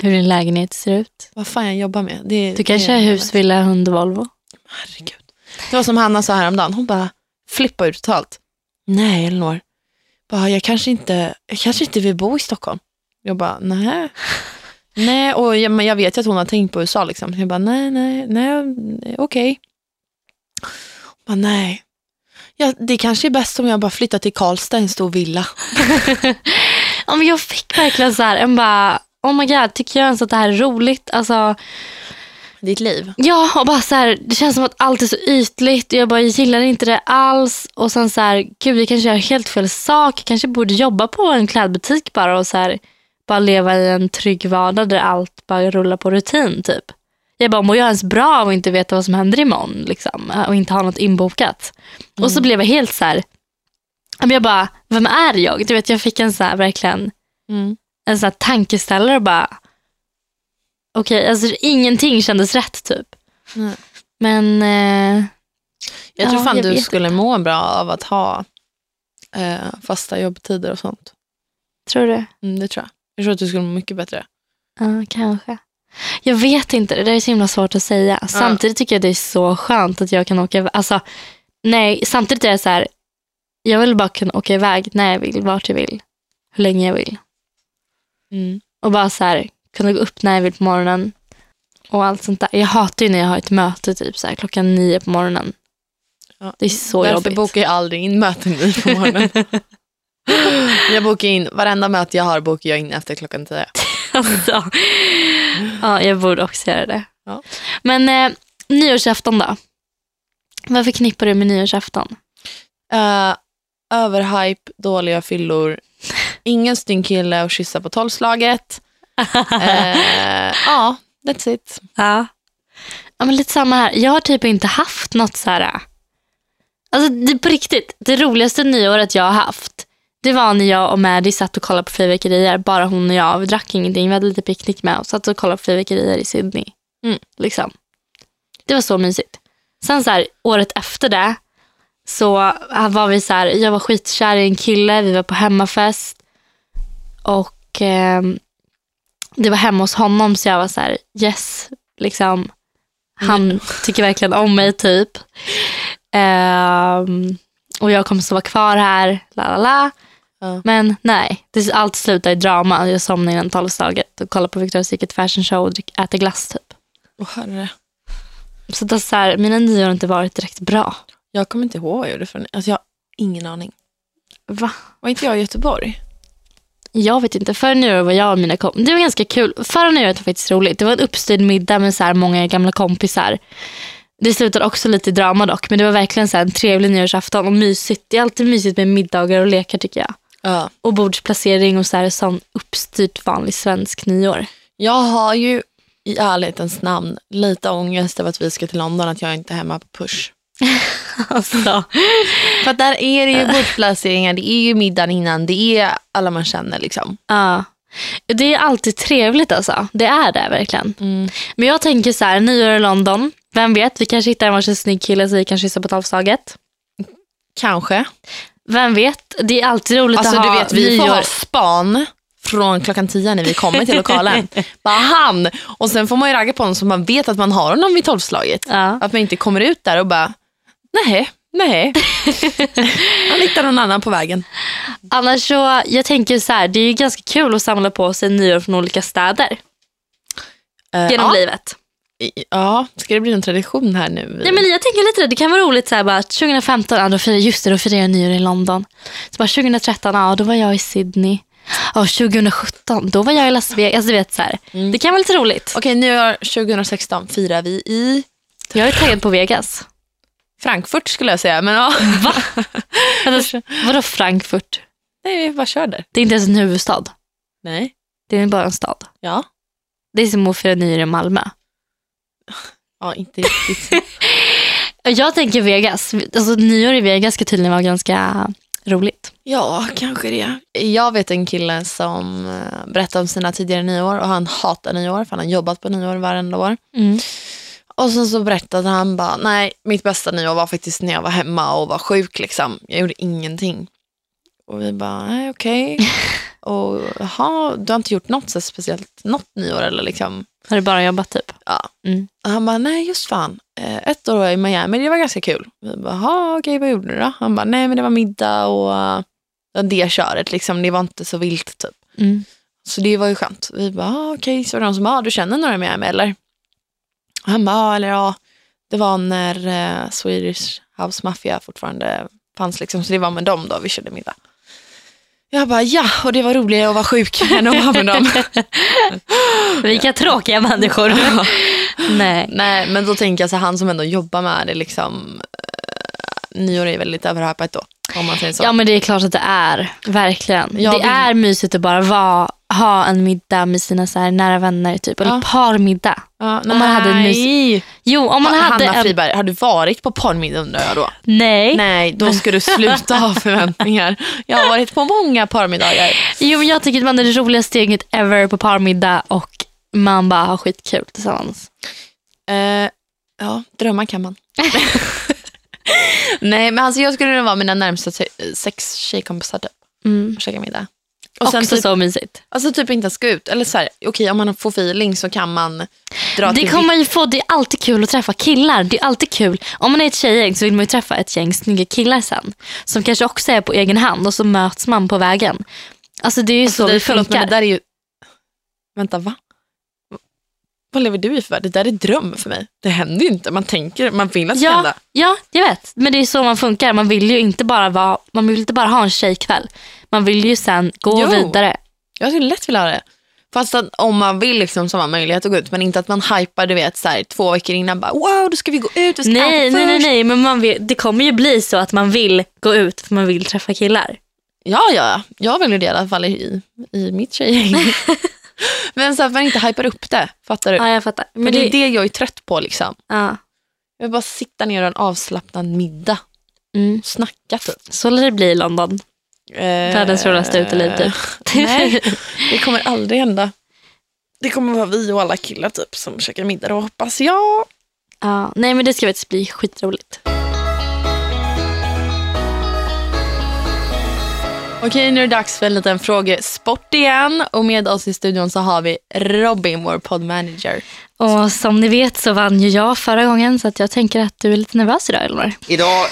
Speaker 2: Hur din lägenhet ser ut.
Speaker 1: vad fan jag jobbar med. Det,
Speaker 2: Du kanske
Speaker 1: det
Speaker 2: har
Speaker 1: är-
Speaker 2: hus, villa, hund och Volvo.
Speaker 1: Herregud. Det var som Hanna sa häromdagen, hon bara flippade ut totalt. Nej Elinor, bara, jag, kanske inte, jag kanske inte vill bo i Stockholm. Jag bara, nej. Nej, och jag, men jag vet ju att hon har tänkt på USA liksom. Jag bara, nej, nej, nej, nej, okej. Hon bara, nej. Ja, det kanske är bäst om jag bara flyttar till Karlstad, en stor villa.
Speaker 2: Ja, men jag fick verkligen så här, en bara, oh my god, tycker jag ens att det här är roligt? Alltså,
Speaker 1: Ditt liv.
Speaker 2: ja, och bara så här, det känns som att allt är så ytligt och jag bara jag gillar inte det alls. Och sen så här, gud jag kanske gör helt fel sak. Jag kanske borde jobba på en klädbutik bara och så här, bara leva i en trygg vardag där allt bara rullar på rutin typ. Jag bara, mår jag ens bra av att inte veta vad som händer imorgon liksom, och inte ha något inbokat? Och så blev jag helt så här, ja, men jag bara, vem är jag? Du vet, jag fick en så här verkligen
Speaker 1: Mm.
Speaker 2: en sån här tankeställare och bara okej, alltså ingenting kändes rätt typ.
Speaker 1: Nej.
Speaker 2: Men eh,
Speaker 1: Jag tror
Speaker 2: Ja,
Speaker 1: fan
Speaker 2: jag
Speaker 1: du
Speaker 2: vet
Speaker 1: skulle må bra av att ha eh, fasta jobbtider och sånt.
Speaker 2: tror du?
Speaker 1: Mm, det tror jag. Jag tror att du skulle må mycket bättre.
Speaker 2: Ja, kanske. Jag vet inte, det där är så himla svårt att säga. Samtidigt tycker jag det är så skönt att jag kan åka iväg. Alltså, nej, samtidigt är det så här, jag vill bara kunna åka iväg när jag vill, vart jag vill, hur länge jag vill.
Speaker 1: Mm.
Speaker 2: Och bara så här, kunna gå upp när jag vill på morgonen. Och allt sånt där. Jag hatar ju när jag har ett möte typ så här, klockan nio på morgonen.
Speaker 1: Ja,
Speaker 2: Det är så
Speaker 1: Därför
Speaker 2: jobbigt.
Speaker 1: bokar jag aldrig in möten nu på morgonen. jag bokar in, varenda möte jag har bokar jag in efter klockan tio.
Speaker 2: Alltså. Ja, jag borde också göra det.
Speaker 1: Ja.
Speaker 2: Men eh, nyårsafton då? Vad förknippar du med nyårsafton?
Speaker 1: Eh, överhype, dåliga fyllor, ingen stygg kille och kyssa på tolvslaget. Eh, Ja, that's it.
Speaker 2: Ja. ja men lite samma här. Jag har typ inte haft något så här... äh. Alltså det, på riktigt, det roligaste nyåret jag har haft det var när jag och Maddie satt och kollade på fyrverkerier. Bara hon och jag. Vi drack ingenting. Vi hade lite picknick med och satt och kollade på fyrverkerier i Sydney.
Speaker 1: Mm.
Speaker 2: Liksom. Det var så mysigt. Sen så här, året efter det så var vi så här, jag var skitkär i en kille. Vi var på hemmafest. Och ehm, det var hemma hos honom så jag var så här, yes, liksom. Han tycker verkligen om mig typ. Ehm, och jag kommer att vara kvar här, la la la.
Speaker 1: Ja.
Speaker 2: Men nej, det, allt slutar i drama. Jag somnar innan tolvslaget och kollar på Victoria's Secret Fashion Show och drick, äter glass typ.
Speaker 1: Åh, herre.
Speaker 2: Så, det är så här, mina nyår har inte varit direkt bra.
Speaker 1: Jag kommer inte ihåg vad jag gjorde för alltså, jag har ingen aning.
Speaker 2: Va?
Speaker 1: Var inte jag i Göteborg?
Speaker 2: Jag vet inte. Förra nyår var jag och mina kompisar. Det var ganska kul. Förra nyåret var faktiskt roligt. Det var en uppstyrd middag med så här många gamla kompisar. Det slutade också lite i drama dock, men det var verkligen så här en trevlig nyårsafton och mysigt. Det är alltid mysigt med middagar och lekar tycker jag.
Speaker 1: Ja.
Speaker 2: Och bordsplacering och så här sån uppstyrt vanlig svensk nyår.
Speaker 1: Jag har ju i ärlighetens namn lite ångest över att vi ska till London, att jag inte är hemma på push.
Speaker 2: Alltså.
Speaker 1: För att där är det ju bordsplaceringar, det är ju middagen innan, det är alla man känner liksom.
Speaker 2: Ja. Det är alltid trevligt alltså. Det är det verkligen. Men jag tänker så här, nyår i London. Vem vet, vi kanske hittar en varsin snygg kille så vi kan kyssa på tolvslaget.
Speaker 1: Kanske.
Speaker 2: Vem vet, det är alltid roligt
Speaker 1: Alltså
Speaker 2: att
Speaker 1: du
Speaker 2: ha
Speaker 1: vet, vi får
Speaker 2: nyår.
Speaker 1: ha span från klockan tio när vi kommer till lokalen. Bara han! Och sen får man ju ragga på honom så man vet att man har honom vid tolvslaget.
Speaker 2: Ja.
Speaker 1: Att man inte kommer ut där och bara, nej, nej. Han hittar någon annan på vägen.
Speaker 2: Annars så, jag tänker så här, det är ju ganska kul att samla på sig nyår från olika städer
Speaker 1: Eh,
Speaker 2: genom
Speaker 1: ja.
Speaker 2: livet.
Speaker 1: I- ja, ska det bli en tradition här nu?
Speaker 2: Nej, men jag tänker lite det. Det kan vara roligt så här, bara, att 2015, ja, då firar, just det, då firar jag nyår i London. Så bara, 2013, ja, då var jag i Sydney. Ja, 2017, då var jag i Las Vegas. Alltså, du vet, så här.
Speaker 1: Mm.
Speaker 2: Det kan vara lite roligt.
Speaker 1: Okej, nu är 2016 firar vi i
Speaker 2: Jag är taggad på Vegas.
Speaker 1: Frankfurt skulle jag säga. Men ja,
Speaker 2: Va?
Speaker 1: Alltså,
Speaker 2: Vänta, Vadå Frankfurt?
Speaker 1: nej, vi bara kör där.
Speaker 2: Det är inte ens en huvudstad.
Speaker 1: Nej.
Speaker 2: Det är bara en stad.
Speaker 1: Ja.
Speaker 2: Det är som att fira nyår i Malmö.
Speaker 1: Ja, inte riktigt.
Speaker 2: Jag tänker Vegas. Alltså, nyår i Vegas ska tydligen vara ganska roligt.
Speaker 1: Ja, kanske det. Jag vet en kille som eh, berättade om sina tidigare nyår och han hatar nyår för han har jobbat på nyår varenda år.
Speaker 2: Mm.
Speaker 1: Och sen så berättade han bara, nej mitt bästa nyår var faktiskt när jag var hemma och var sjuk liksom. Jag gjorde ingenting. Och vi bara, nej okej. och jaha, du har inte gjort något så här speciellt, något nyår eller liksom.
Speaker 2: Har du bara jobbat typ?
Speaker 1: Ja.
Speaker 2: Mm.
Speaker 1: Och han bara, nej just fan. Eh, Ett år var jag i Miami, det var ganska kul. Vi bara, jaha okej vad gjorde du då? Han bara, nej men det var middag och eh, det köret liksom, det var inte så vilt typ.
Speaker 2: Mm.
Speaker 1: Så det var ju skönt. Vi bara, ah, okej, så var det någon som bara, ah, du känner några med mig eller? Och han bara, ah, eller ja, det var när eh, Swedish House Mafia fortfarande fanns liksom, så det var med dem då vi körde middag. Jag bara, ja, och det var roligare att vara sjuk än att vara med dem.
Speaker 2: Vilka tråkiga människor. Nej.
Speaker 1: Nej, men då tänker jag så här, han som ändå jobbar med det liksom, eh, nyår är väldigt överhypat då, om man säger så.
Speaker 2: Ja men det är klart att det är, verkligen.
Speaker 1: Ja,
Speaker 2: det
Speaker 1: det-
Speaker 2: är mysigt att bara vara, ha en middag med sina så här nära vänner typ, eller
Speaker 1: Ja.
Speaker 2: parmiddag.
Speaker 1: Ja,
Speaker 2: om man hade en mys-
Speaker 1: nej.
Speaker 2: Jo, om man
Speaker 1: Hanna
Speaker 2: hade en... Eh,
Speaker 1: Friberg, har du varit på porrmiddag undrar jag då?
Speaker 2: Nej.
Speaker 1: Nej, då ska du sluta ha förväntningar. Jag har varit på många parmiddagar.
Speaker 2: Jo, men jag tycker att man är det roligaste gänget ever på parmiddag och man bara har skitkul tillsammans.
Speaker 1: Eh, ja, drömmar kan man. Nej, men alltså jag skulle nog vara mina närmsta se- sex tjejkompisar typ.
Speaker 2: Mm.
Speaker 1: Och käka middag. Och
Speaker 2: Och
Speaker 1: sen
Speaker 2: Också
Speaker 1: typ,
Speaker 2: så mysigt.
Speaker 1: alltså typ inte ens gå ut. Eller så här, okej om man får feeling så kan man dra
Speaker 2: Det
Speaker 1: till
Speaker 2: kommer man ju få. Det är alltid kul att träffa killar. Det är alltid kul. Om man är ett tjejgäng så vill man ju träffa ett gäng snygga killar sen. Som kanske också är på egen hand och så möts man på vägen. Alltså det är ju så
Speaker 1: det,
Speaker 2: det
Speaker 1: förlåt, men
Speaker 2: funkar.
Speaker 1: det där är ju... Vänta, va? Vad lever du i för värld? Det där är dröm för mig. Det händer ju inte. Man tänker, man vill att det ska
Speaker 2: ja,
Speaker 1: hända.
Speaker 2: ja, jag vet. Men det är så man funkar. Man vill ju inte bara, vara, man vill inte bara ha en tjejkväll. Man vill ju sen gå
Speaker 1: Jo.
Speaker 2: vidare.
Speaker 1: Jag skulle lätt vilja ha det. Fast att om man vill liksom så har man möjlighet att gå ut. Men inte att man hypar du vet så här, två veckor innan bara wow då ska vi gå ut, vi ska
Speaker 2: Nej,
Speaker 1: äta
Speaker 2: nej, nej,
Speaker 1: först."
Speaker 2: nej, men man vill, det kommer ju bli så att man vill gå ut för man vill träffa killar.
Speaker 1: Ja, ja, ja. jag vill ju det i alla fall i, i mitt tjejgäng. men så att man inte hypar upp det, fattar du?
Speaker 2: Ja, jag fattar.
Speaker 1: men
Speaker 2: Men
Speaker 1: det är
Speaker 2: det,
Speaker 1: det jag är trött på liksom.
Speaker 2: ja.
Speaker 1: Jag vill bara sitta ner och ha en avslappnad middag
Speaker 2: mm.
Speaker 1: och snacka typ.
Speaker 2: Så lär det bli i London. Världens roligaste uteliv typ.
Speaker 1: nej. Det kommer aldrig hända. Det kommer vara vi och alla killar typ som käkar middag då hoppas jag.
Speaker 2: ja. Nej, men det ska faktiskt bli skitroligt.
Speaker 1: Okej, nu är det dags för en liten frågesport igen. Och med oss i studion så har vi Robin, vår poddmanager.
Speaker 2: Och som ni vet så vann ju jag förra gången så att jag tänker att du är lite nervös idag Elinor.
Speaker 3: Idag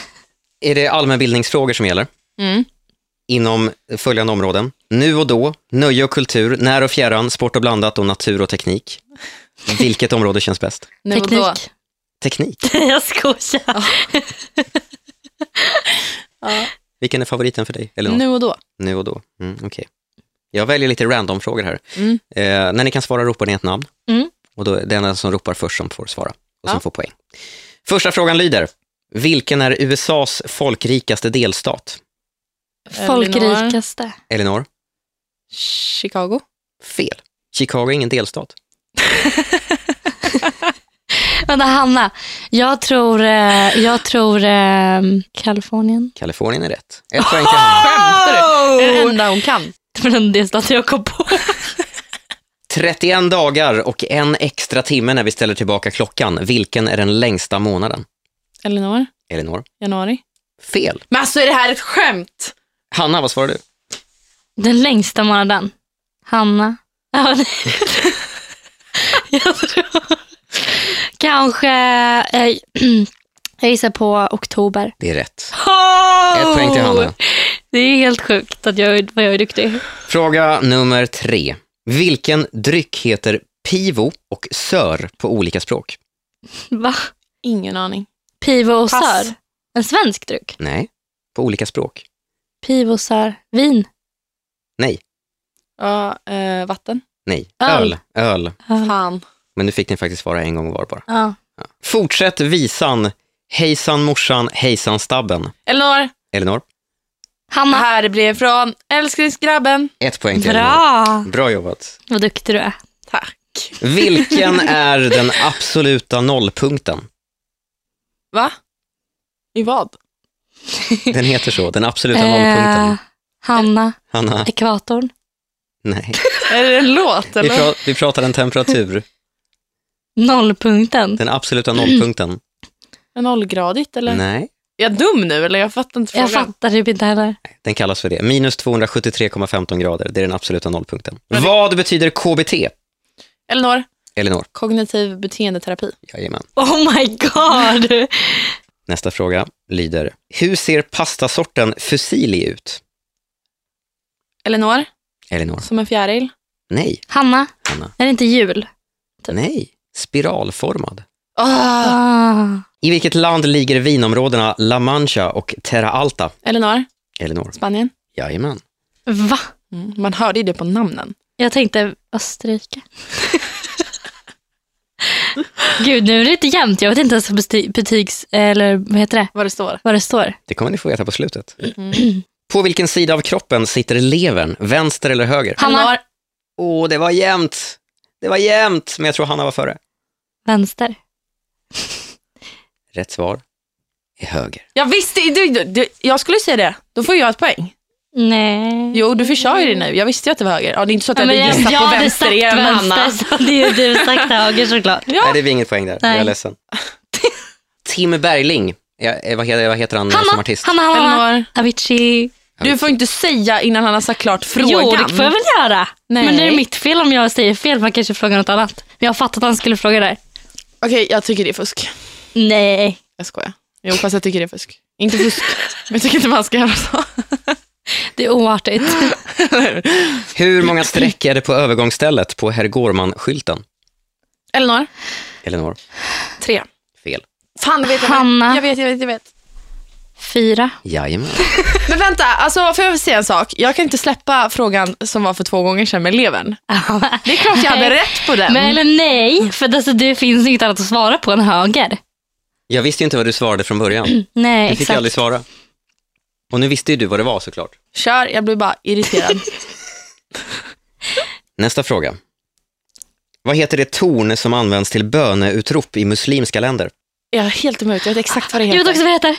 Speaker 3: är det allmänbildningsfrågor som gäller
Speaker 1: Mm.
Speaker 3: inom följande områden. Nu och då, nöje och kultur, när och fjärran, sport och blandat och natur och teknik. Vilket område känns bäst?
Speaker 1: Nu och då.
Speaker 2: Teknik.
Speaker 3: Teknik.
Speaker 2: jag skojar.
Speaker 3: Vilken är favoriten för dig? Eller någon?
Speaker 1: Nu och då.
Speaker 3: nu och då. Mm, okej. Jag väljer lite random-frågor här.
Speaker 1: Mm.
Speaker 3: Eh, när ni kan svara ropar ni ett namn.
Speaker 2: Mm.
Speaker 3: Och då är det den som ropar först som får svara och som
Speaker 1: Ja.
Speaker 3: får poäng. Första frågan lyder, vilken är USAs folkrikaste delstat?
Speaker 2: Folkrikaste.
Speaker 3: Elinor?
Speaker 1: Chicago.
Speaker 3: Fel. Chicago är ingen delstat.
Speaker 2: Vänta Hanna, jag tror, eh, jag tror eh, Kalifornien.
Speaker 3: Kalifornien är rätt. Ett poäng till Hanna.
Speaker 1: Skämtar du? Det är det enda hon kan.
Speaker 2: Det var den delstat jag kom på.
Speaker 3: 31 dagar och en extra timme när vi ställer tillbaka klockan. Vilken är den längsta månaden?
Speaker 1: Elinor,
Speaker 3: Elinor?
Speaker 1: januari.
Speaker 3: Fel.
Speaker 1: Men alltså är det här ett skämt?
Speaker 3: Hanna, vad svarar du?
Speaker 2: Den längsta månaden. Hanna. Ja, det- jag tror... Kanske... Eh, jag gissar på oktober.
Speaker 3: Det är rätt.
Speaker 2: Oh!
Speaker 3: Ett poäng till Hanna.
Speaker 2: Det är helt sjukt att jag, är- vad jag är duktig.
Speaker 3: Fråga nummer tre. Vilken dryck heter pivo och sör på olika språk?
Speaker 2: Va?
Speaker 1: Ingen aning.
Speaker 2: Pivo och
Speaker 1: Pass.
Speaker 2: sör. En svensk dryck.
Speaker 3: Nej, på olika språk.
Speaker 2: Pivo och sör. Vin.
Speaker 3: Nej,
Speaker 1: Ja, eh, vatten.
Speaker 3: nej.
Speaker 2: Öl.
Speaker 3: Öl. Öl.
Speaker 1: Fan.
Speaker 3: Men nu fick ni faktiskt svara en gång var bara.
Speaker 2: Ja.
Speaker 3: Fortsätt visan. Hejsan morsan, hejsan stabben.
Speaker 1: Elinor,
Speaker 3: Elinor?
Speaker 1: det
Speaker 2: Hanna.
Speaker 1: här blir från älsklingsgrabben.
Speaker 3: Ett poäng till Elinor.
Speaker 2: Bra.
Speaker 3: Bra jobbat.
Speaker 2: Vad duktig du är.
Speaker 1: Tack.
Speaker 3: Vilken är den absoluta nollpunkten?
Speaker 1: Va? I vad?
Speaker 3: Den heter så, den absoluta
Speaker 2: Eh,
Speaker 3: nollpunkten.
Speaker 2: Hanna,
Speaker 3: Hanna,
Speaker 2: ekvatorn.
Speaker 3: nej.
Speaker 1: Är det en låt
Speaker 3: Vi,
Speaker 1: eller?
Speaker 3: pra- vi pratar en temperatur,
Speaker 2: Nollpunkten.
Speaker 3: den absoluta nollpunkten.
Speaker 1: Nollgradigt eller?
Speaker 3: Nej,
Speaker 1: Är jag dum nu eller? Jag fattar inte
Speaker 2: Jag
Speaker 1: frågan.
Speaker 2: fattar typ inte heller.
Speaker 3: den kallas för det. Minus 273,15 grader, det är den absoluta nollpunkten. Vad betyder KBT,
Speaker 1: Elinor,
Speaker 3: Elinor?
Speaker 1: kognitiv beteendeterapi.
Speaker 3: Jajamän.
Speaker 2: Oh my god!
Speaker 3: Nästa fråga lyder, hur ser pastasorten fusilli ut?
Speaker 1: Elinor,
Speaker 3: Elinor?
Speaker 1: som en fjäril.
Speaker 3: Nej,
Speaker 2: Hanna,
Speaker 3: Hanna.
Speaker 2: är det inte jul? Typ.
Speaker 3: Nej, spiralformad.
Speaker 1: Ah.
Speaker 2: Ah.
Speaker 3: I vilket land ligger vinområdena La Mancha och Terra Alta?
Speaker 1: Elinor,
Speaker 3: Elinor?
Speaker 1: Spanien.
Speaker 3: Jajamän.
Speaker 2: Va?
Speaker 1: Mm, man hörde ju det på namnen.
Speaker 2: Jag tänkte Österrike. Gud, nu är det inte jämnt. Jag vet inte ens vad besti- betygs... Eller vad heter det?
Speaker 1: Vad det står.
Speaker 2: Vad det står.
Speaker 3: Det kommer ni få veta på slutet. På vilken sida av kroppen sitter levern? Vänster eller höger?
Speaker 2: Hanna.
Speaker 1: Elinor,
Speaker 3: Åh, det var jämnt. Det var jämnt, men jag tror Hanna var före.
Speaker 2: Vänster.
Speaker 3: Rätt svar är höger.
Speaker 1: jag visste du, du, du, Jag skulle säga det. Då får jag ett poäng.
Speaker 2: Nej.
Speaker 1: Jo, du förkör ju det nu. Jag visste ju att det var höger. Ja, det är inte så att
Speaker 2: Ja,
Speaker 1: jag
Speaker 2: men
Speaker 1: hade
Speaker 2: jag,
Speaker 1: gissat
Speaker 2: jag
Speaker 1: på
Speaker 2: hade
Speaker 1: vänster
Speaker 2: sagt
Speaker 1: igen,
Speaker 2: vänster,
Speaker 1: Hanna.
Speaker 2: så hade ju du sagt höger såklart.
Speaker 1: Ja.
Speaker 3: Nej, det blir inget poäng där. Jag är
Speaker 2: Nej.
Speaker 3: ledsen. Tim Bergling. Ja, eh, vad, heter, vad heter han eh, som
Speaker 2: Hanna,
Speaker 3: artist?
Speaker 2: Hanna, Hanna, Hanna.
Speaker 1: Elinor,
Speaker 2: Avicii.
Speaker 1: du får inte säga innan han har sagt klart frågan.
Speaker 2: Jo, det får jag väl göra.
Speaker 1: Nej.
Speaker 2: Men det är mitt fel om jag säger fel. Man kanske frågar något annat. Men jag fattar att han skulle fråga där.
Speaker 1: Okej, jag tycker det är fusk.
Speaker 2: Nej.
Speaker 1: Jag skojar. Jo, fast jag tycker det är fusk. Inte fusk, men jag tycker inte man ska göra så.
Speaker 2: Det är oartigt.
Speaker 3: Hur många streck är det på övergångsstället på Herr Gorman-skylten?
Speaker 1: Elinor?
Speaker 3: Elinor?
Speaker 1: Tre.
Speaker 3: Fel.
Speaker 1: Fan, det vet jag.
Speaker 2: Hanna.
Speaker 1: Jag vet, jag vet, jag vet.
Speaker 2: Fyra.
Speaker 3: Jajamän.
Speaker 1: Men vänta, alltså, får jag väl säga en sak? Jag kan inte släppa frågan som var för två gånger sedan med levern. Det är klart jag hade rätt på den.
Speaker 2: Men eller nej, för alltså, det finns inget annat att svara på än höger.
Speaker 3: Jag visste ju inte vad du svarade från början.
Speaker 2: Nej,
Speaker 3: Du fick ju
Speaker 2: exakt.
Speaker 3: aldrig svara. Och nu visste ju du vad det var såklart.
Speaker 1: Kör, jag blir bara irriterad.
Speaker 3: Nästa fråga. Vad heter det torn som används till böneutrop i muslimska länder?
Speaker 1: Jag är helt emot, jag vet exakt vad det
Speaker 2: Jag vet
Speaker 1: heter.
Speaker 2: också vad det heter.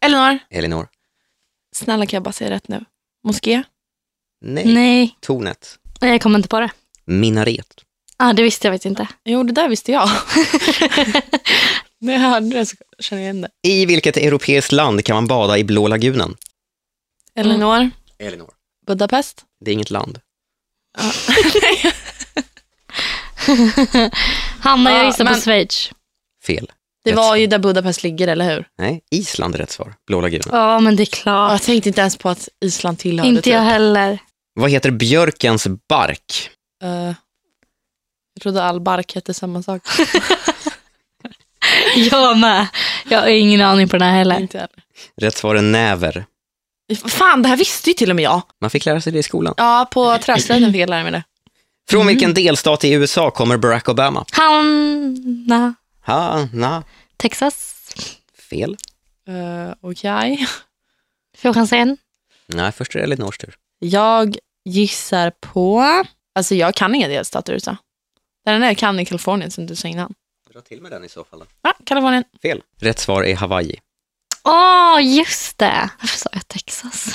Speaker 1: Elinor,
Speaker 3: Elinor?
Speaker 1: snälla kan jag bara säga rätt nu? Moské?
Speaker 3: Nej.
Speaker 2: Nej,
Speaker 3: Tornet.
Speaker 2: jag kommer inte på det.
Speaker 3: Minaret.
Speaker 2: Ah, det visste jag faktiskt inte.
Speaker 1: Jo, det där visste jag. När jag hörde det så kände jag igen det.
Speaker 3: I vilket europeiskt land kan man bada i Blå lagunen?
Speaker 1: Elinor,
Speaker 2: Mm.
Speaker 3: Elinor.
Speaker 1: Budapest?
Speaker 3: Det är inget land.
Speaker 2: Hanna,
Speaker 1: Ja,
Speaker 2: jag gissar
Speaker 1: men-
Speaker 2: på Schweiz.
Speaker 3: Fel.
Speaker 1: Det
Speaker 3: Rätt
Speaker 1: var
Speaker 3: svar.
Speaker 1: ju där Budapest ligger, eller hur?
Speaker 3: Nej, Island är rätt svar. Blå lagunen.
Speaker 2: Ja, men det är klart.
Speaker 1: Jag tänkte inte ens på att Island tillhörde typ,
Speaker 2: inte jag heller.
Speaker 3: Vad heter björkens bark?
Speaker 1: Eh, jag trodde all bark hette samma sak.
Speaker 2: Jag med. Jag har ingen aning på den här heller.
Speaker 1: Inte heller.
Speaker 3: Rätt svar är näver.
Speaker 1: Fan, det här visste ju till och med jag.
Speaker 3: Man fick lära sig det i skolan.
Speaker 1: Ja, på träslöjden fick jag lära mig det.
Speaker 3: Från
Speaker 1: Mm.
Speaker 3: vilken delstat i USA kommer Barack Obama?
Speaker 2: Hanna,
Speaker 3: Ha, na,
Speaker 2: Texas.
Speaker 3: fel.
Speaker 1: Eh, Okej.
Speaker 2: Får jag chansa igen?
Speaker 3: Nej, först är det Elinors tur.
Speaker 1: Jag gissar på... Alltså jag kan inga delstater i USA. Den enda jag kan är Kalifornien som du sa innan.
Speaker 3: Dra till med den i så fall. Då.
Speaker 1: Ja, Kalifornien.
Speaker 3: Fel. Rätt svar är Hawaii.
Speaker 2: Åh, just det. Varför sa jag Texas?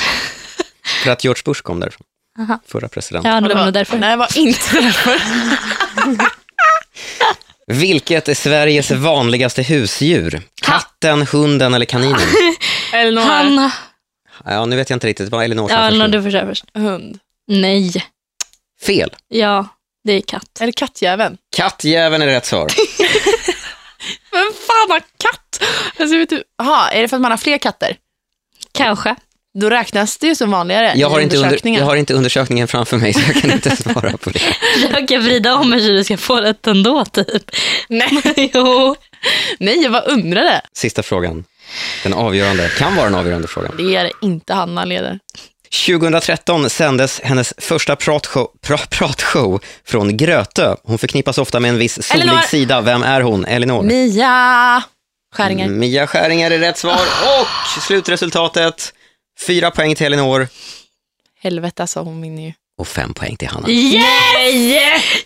Speaker 3: För att George Bush kom därifrån.
Speaker 2: Aha.
Speaker 3: Förra president.
Speaker 2: Ja, det var nog därför.
Speaker 1: Nej, det var inte därför.
Speaker 3: Vilket är Sveriges vanligaste husdjur? Katten, hunden eller kaninen?
Speaker 1: Elinor.
Speaker 2: Hanna.
Speaker 3: Ja, nu vet jag inte riktigt. Vad Elinor sa
Speaker 2: Ja,
Speaker 3: först
Speaker 2: eller
Speaker 3: nu.
Speaker 2: du får köra först.
Speaker 1: Hund.
Speaker 2: Nej.
Speaker 3: Fel.
Speaker 2: Ja, det är katt.
Speaker 1: Eller kattjäveln.
Speaker 3: Kattjäveln är rätt svar.
Speaker 1: Vem fan har katt? Alltså, vet du... Aha, är det för att man har fler katter?
Speaker 2: Kanske.
Speaker 1: Då räknas det ju som vanligare
Speaker 3: Jag har,
Speaker 1: i
Speaker 3: inte under,
Speaker 1: undersökningen.
Speaker 3: jag har inte undersökningen framför mig så jag kan inte svara på det.
Speaker 2: Jag kan vrida om mig så du ska få rätt ändå, typ.
Speaker 1: Nej.
Speaker 2: Jo.
Speaker 1: Nej, jag bara undrade.
Speaker 3: Sista frågan. Den avgörande. Kan vara den avgörande frågan.
Speaker 1: Det är det inte Hanna leder.
Speaker 3: 2013 sändes hennes första pratshow, pra, pratshow från Grötö. Hon förknippas ofta med en viss solig
Speaker 1: Elinor.
Speaker 3: sida. Vem är hon? Elinor? Mm,
Speaker 1: Mia Skäringer. Ah!
Speaker 3: Mia Skäringer är rätt svar och slutresultatet fyra poäng till Elinor
Speaker 1: Helvete alltså, hon vinner ju.
Speaker 3: och fem poäng till Hanna.
Speaker 2: Yes!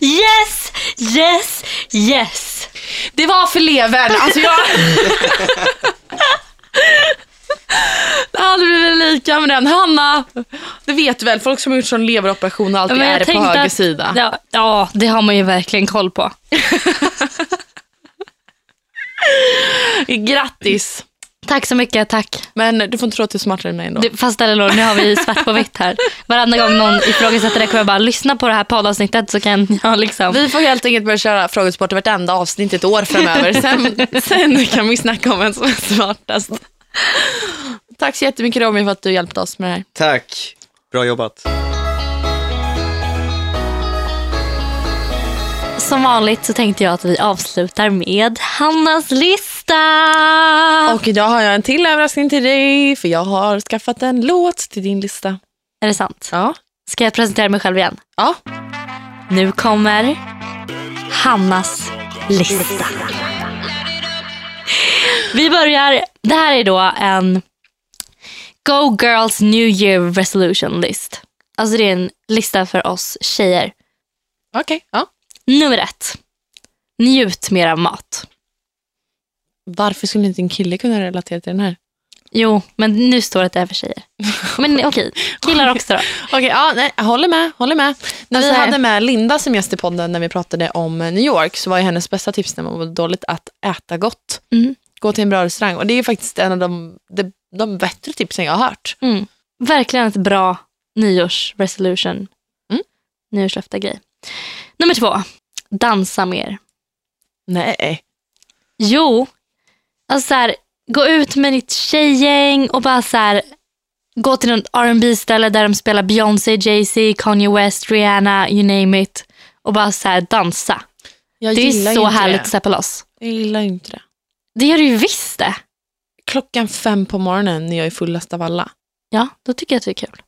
Speaker 2: Yes! Yes! Yes!
Speaker 1: Det var för levern. Alltså jag...
Speaker 2: lika med den. Hanna!
Speaker 1: Det vet du väl, folk som har gjort sån leveroperation har alltid
Speaker 2: Men jag
Speaker 1: är på
Speaker 2: tänkte
Speaker 1: höger
Speaker 2: att-
Speaker 1: sida.
Speaker 2: Ja, ja, det har man ju verkligen koll på.
Speaker 1: Grattis!
Speaker 2: Tack så mycket, tack.
Speaker 1: Men du får inte tro att du är smartare än mig ändå.
Speaker 2: Du, fast eller nu har vi ju svart på vitt här. Varenda gång någon ifrågasätter det kommer jag bara lyssna på det här poddavsnittet så kan jag liksom.
Speaker 1: Vi får helt enkelt börja köra frågesporten vartenda avsnitt ett år framöver. Sen, sen kan vi snacka om vem som är smartast. Tack så jättemycket Robin för att du hjälpte oss med det här.
Speaker 3: Tack. Bra jobbat.
Speaker 2: Som vanligt så tänkte jag att vi avslutar med Hannas lista.
Speaker 1: Och idag har jag en till överraskning till dig för jag har skaffat en låt till din lista.
Speaker 2: Är det sant?
Speaker 1: Ja.
Speaker 2: Ska jag presentera mig själv igen?
Speaker 1: Ja.
Speaker 2: Nu kommer Hannas lista. Vi börjar. Det här är då en Go Girls New Year Resolution list. Alltså det är en lista för oss tjejer.
Speaker 1: Okej. Ja.
Speaker 2: Nummer ett. Njut mer av mat.
Speaker 1: Varför skulle inte en kille kunna relatera till den här?
Speaker 2: Jo, men nu står det att det är för tjejer. Men okej, killar också då.
Speaker 1: Okej, ja, nej, jag håller med. Håller med. När vi
Speaker 2: Alltså-
Speaker 1: hade med Linda som gäst i podden när vi pratade om New York så var ju hennes bästa tips när man var dåligt att äta gott.
Speaker 2: Mm.
Speaker 1: Gå till en bra restaurang. Och det är ju faktiskt en av de, de, de bättre tipsen jag har hört.
Speaker 2: Mm. Verkligen ett bra nyårsresolution.
Speaker 1: Mm.
Speaker 2: Nyårslöfte grej. Nummer två. Dansa mer.
Speaker 1: Nej.
Speaker 2: Jo, alltså så här, gå ut med ditt tjejgäng och bara så här, gå till något rb ställe där de spelar Beyoncé, Jay-Z, Kanye West, Rihanna, you name it. Och bara så här, dansa.
Speaker 1: Jag
Speaker 2: det
Speaker 1: gillar
Speaker 2: är
Speaker 1: ju
Speaker 2: så
Speaker 1: inte
Speaker 2: härligt att
Speaker 1: Det.
Speaker 2: släppa loss.
Speaker 1: Jag gillar ju inte det.
Speaker 2: Det gör du ju visst det.
Speaker 1: Klockan fem på morgonen när jag är fullast av alla.
Speaker 2: Ja, då tycker jag att det är kul.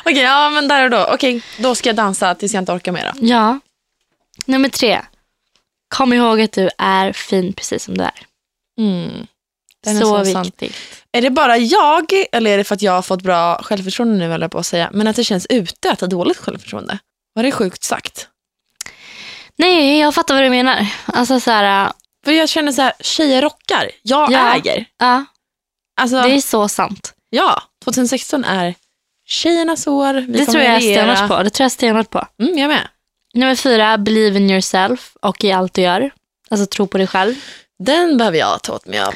Speaker 1: Okej, ja men där och då. Okej, då ska jag dansa tills jag inte orkar mer. då.
Speaker 2: Ja. Nummer tre. Kom ihåg att du är fin precis som du är.
Speaker 1: Mm. Den är
Speaker 2: så,
Speaker 1: så sann.
Speaker 2: viktigt.
Speaker 1: Är det bara jag, eller är det för att jag har fått bra självförtroende nu, höll jag på att säga, men att det känns ute att ha dåligt självförtroende? Var det sjukt sagt?
Speaker 2: Nej, jag fattar vad du menar. Alltså så här, äh,
Speaker 1: För jag känner så här, tjejer rockar, jag
Speaker 2: Ja.
Speaker 1: äger.
Speaker 2: ja,
Speaker 1: Alltså,
Speaker 2: det är så sant.
Speaker 1: ja, 2016 är tjejernas år, vi
Speaker 2: det
Speaker 1: kommer
Speaker 2: tror jag
Speaker 1: regera.
Speaker 2: stenhårt på. Det tror jag stenhårt på.
Speaker 1: Mm, jag med.
Speaker 2: Nummer fyra, believe in yourself och i allt du gör. Alltså tro på dig själv.
Speaker 1: Den behöver jag ta åt mig av.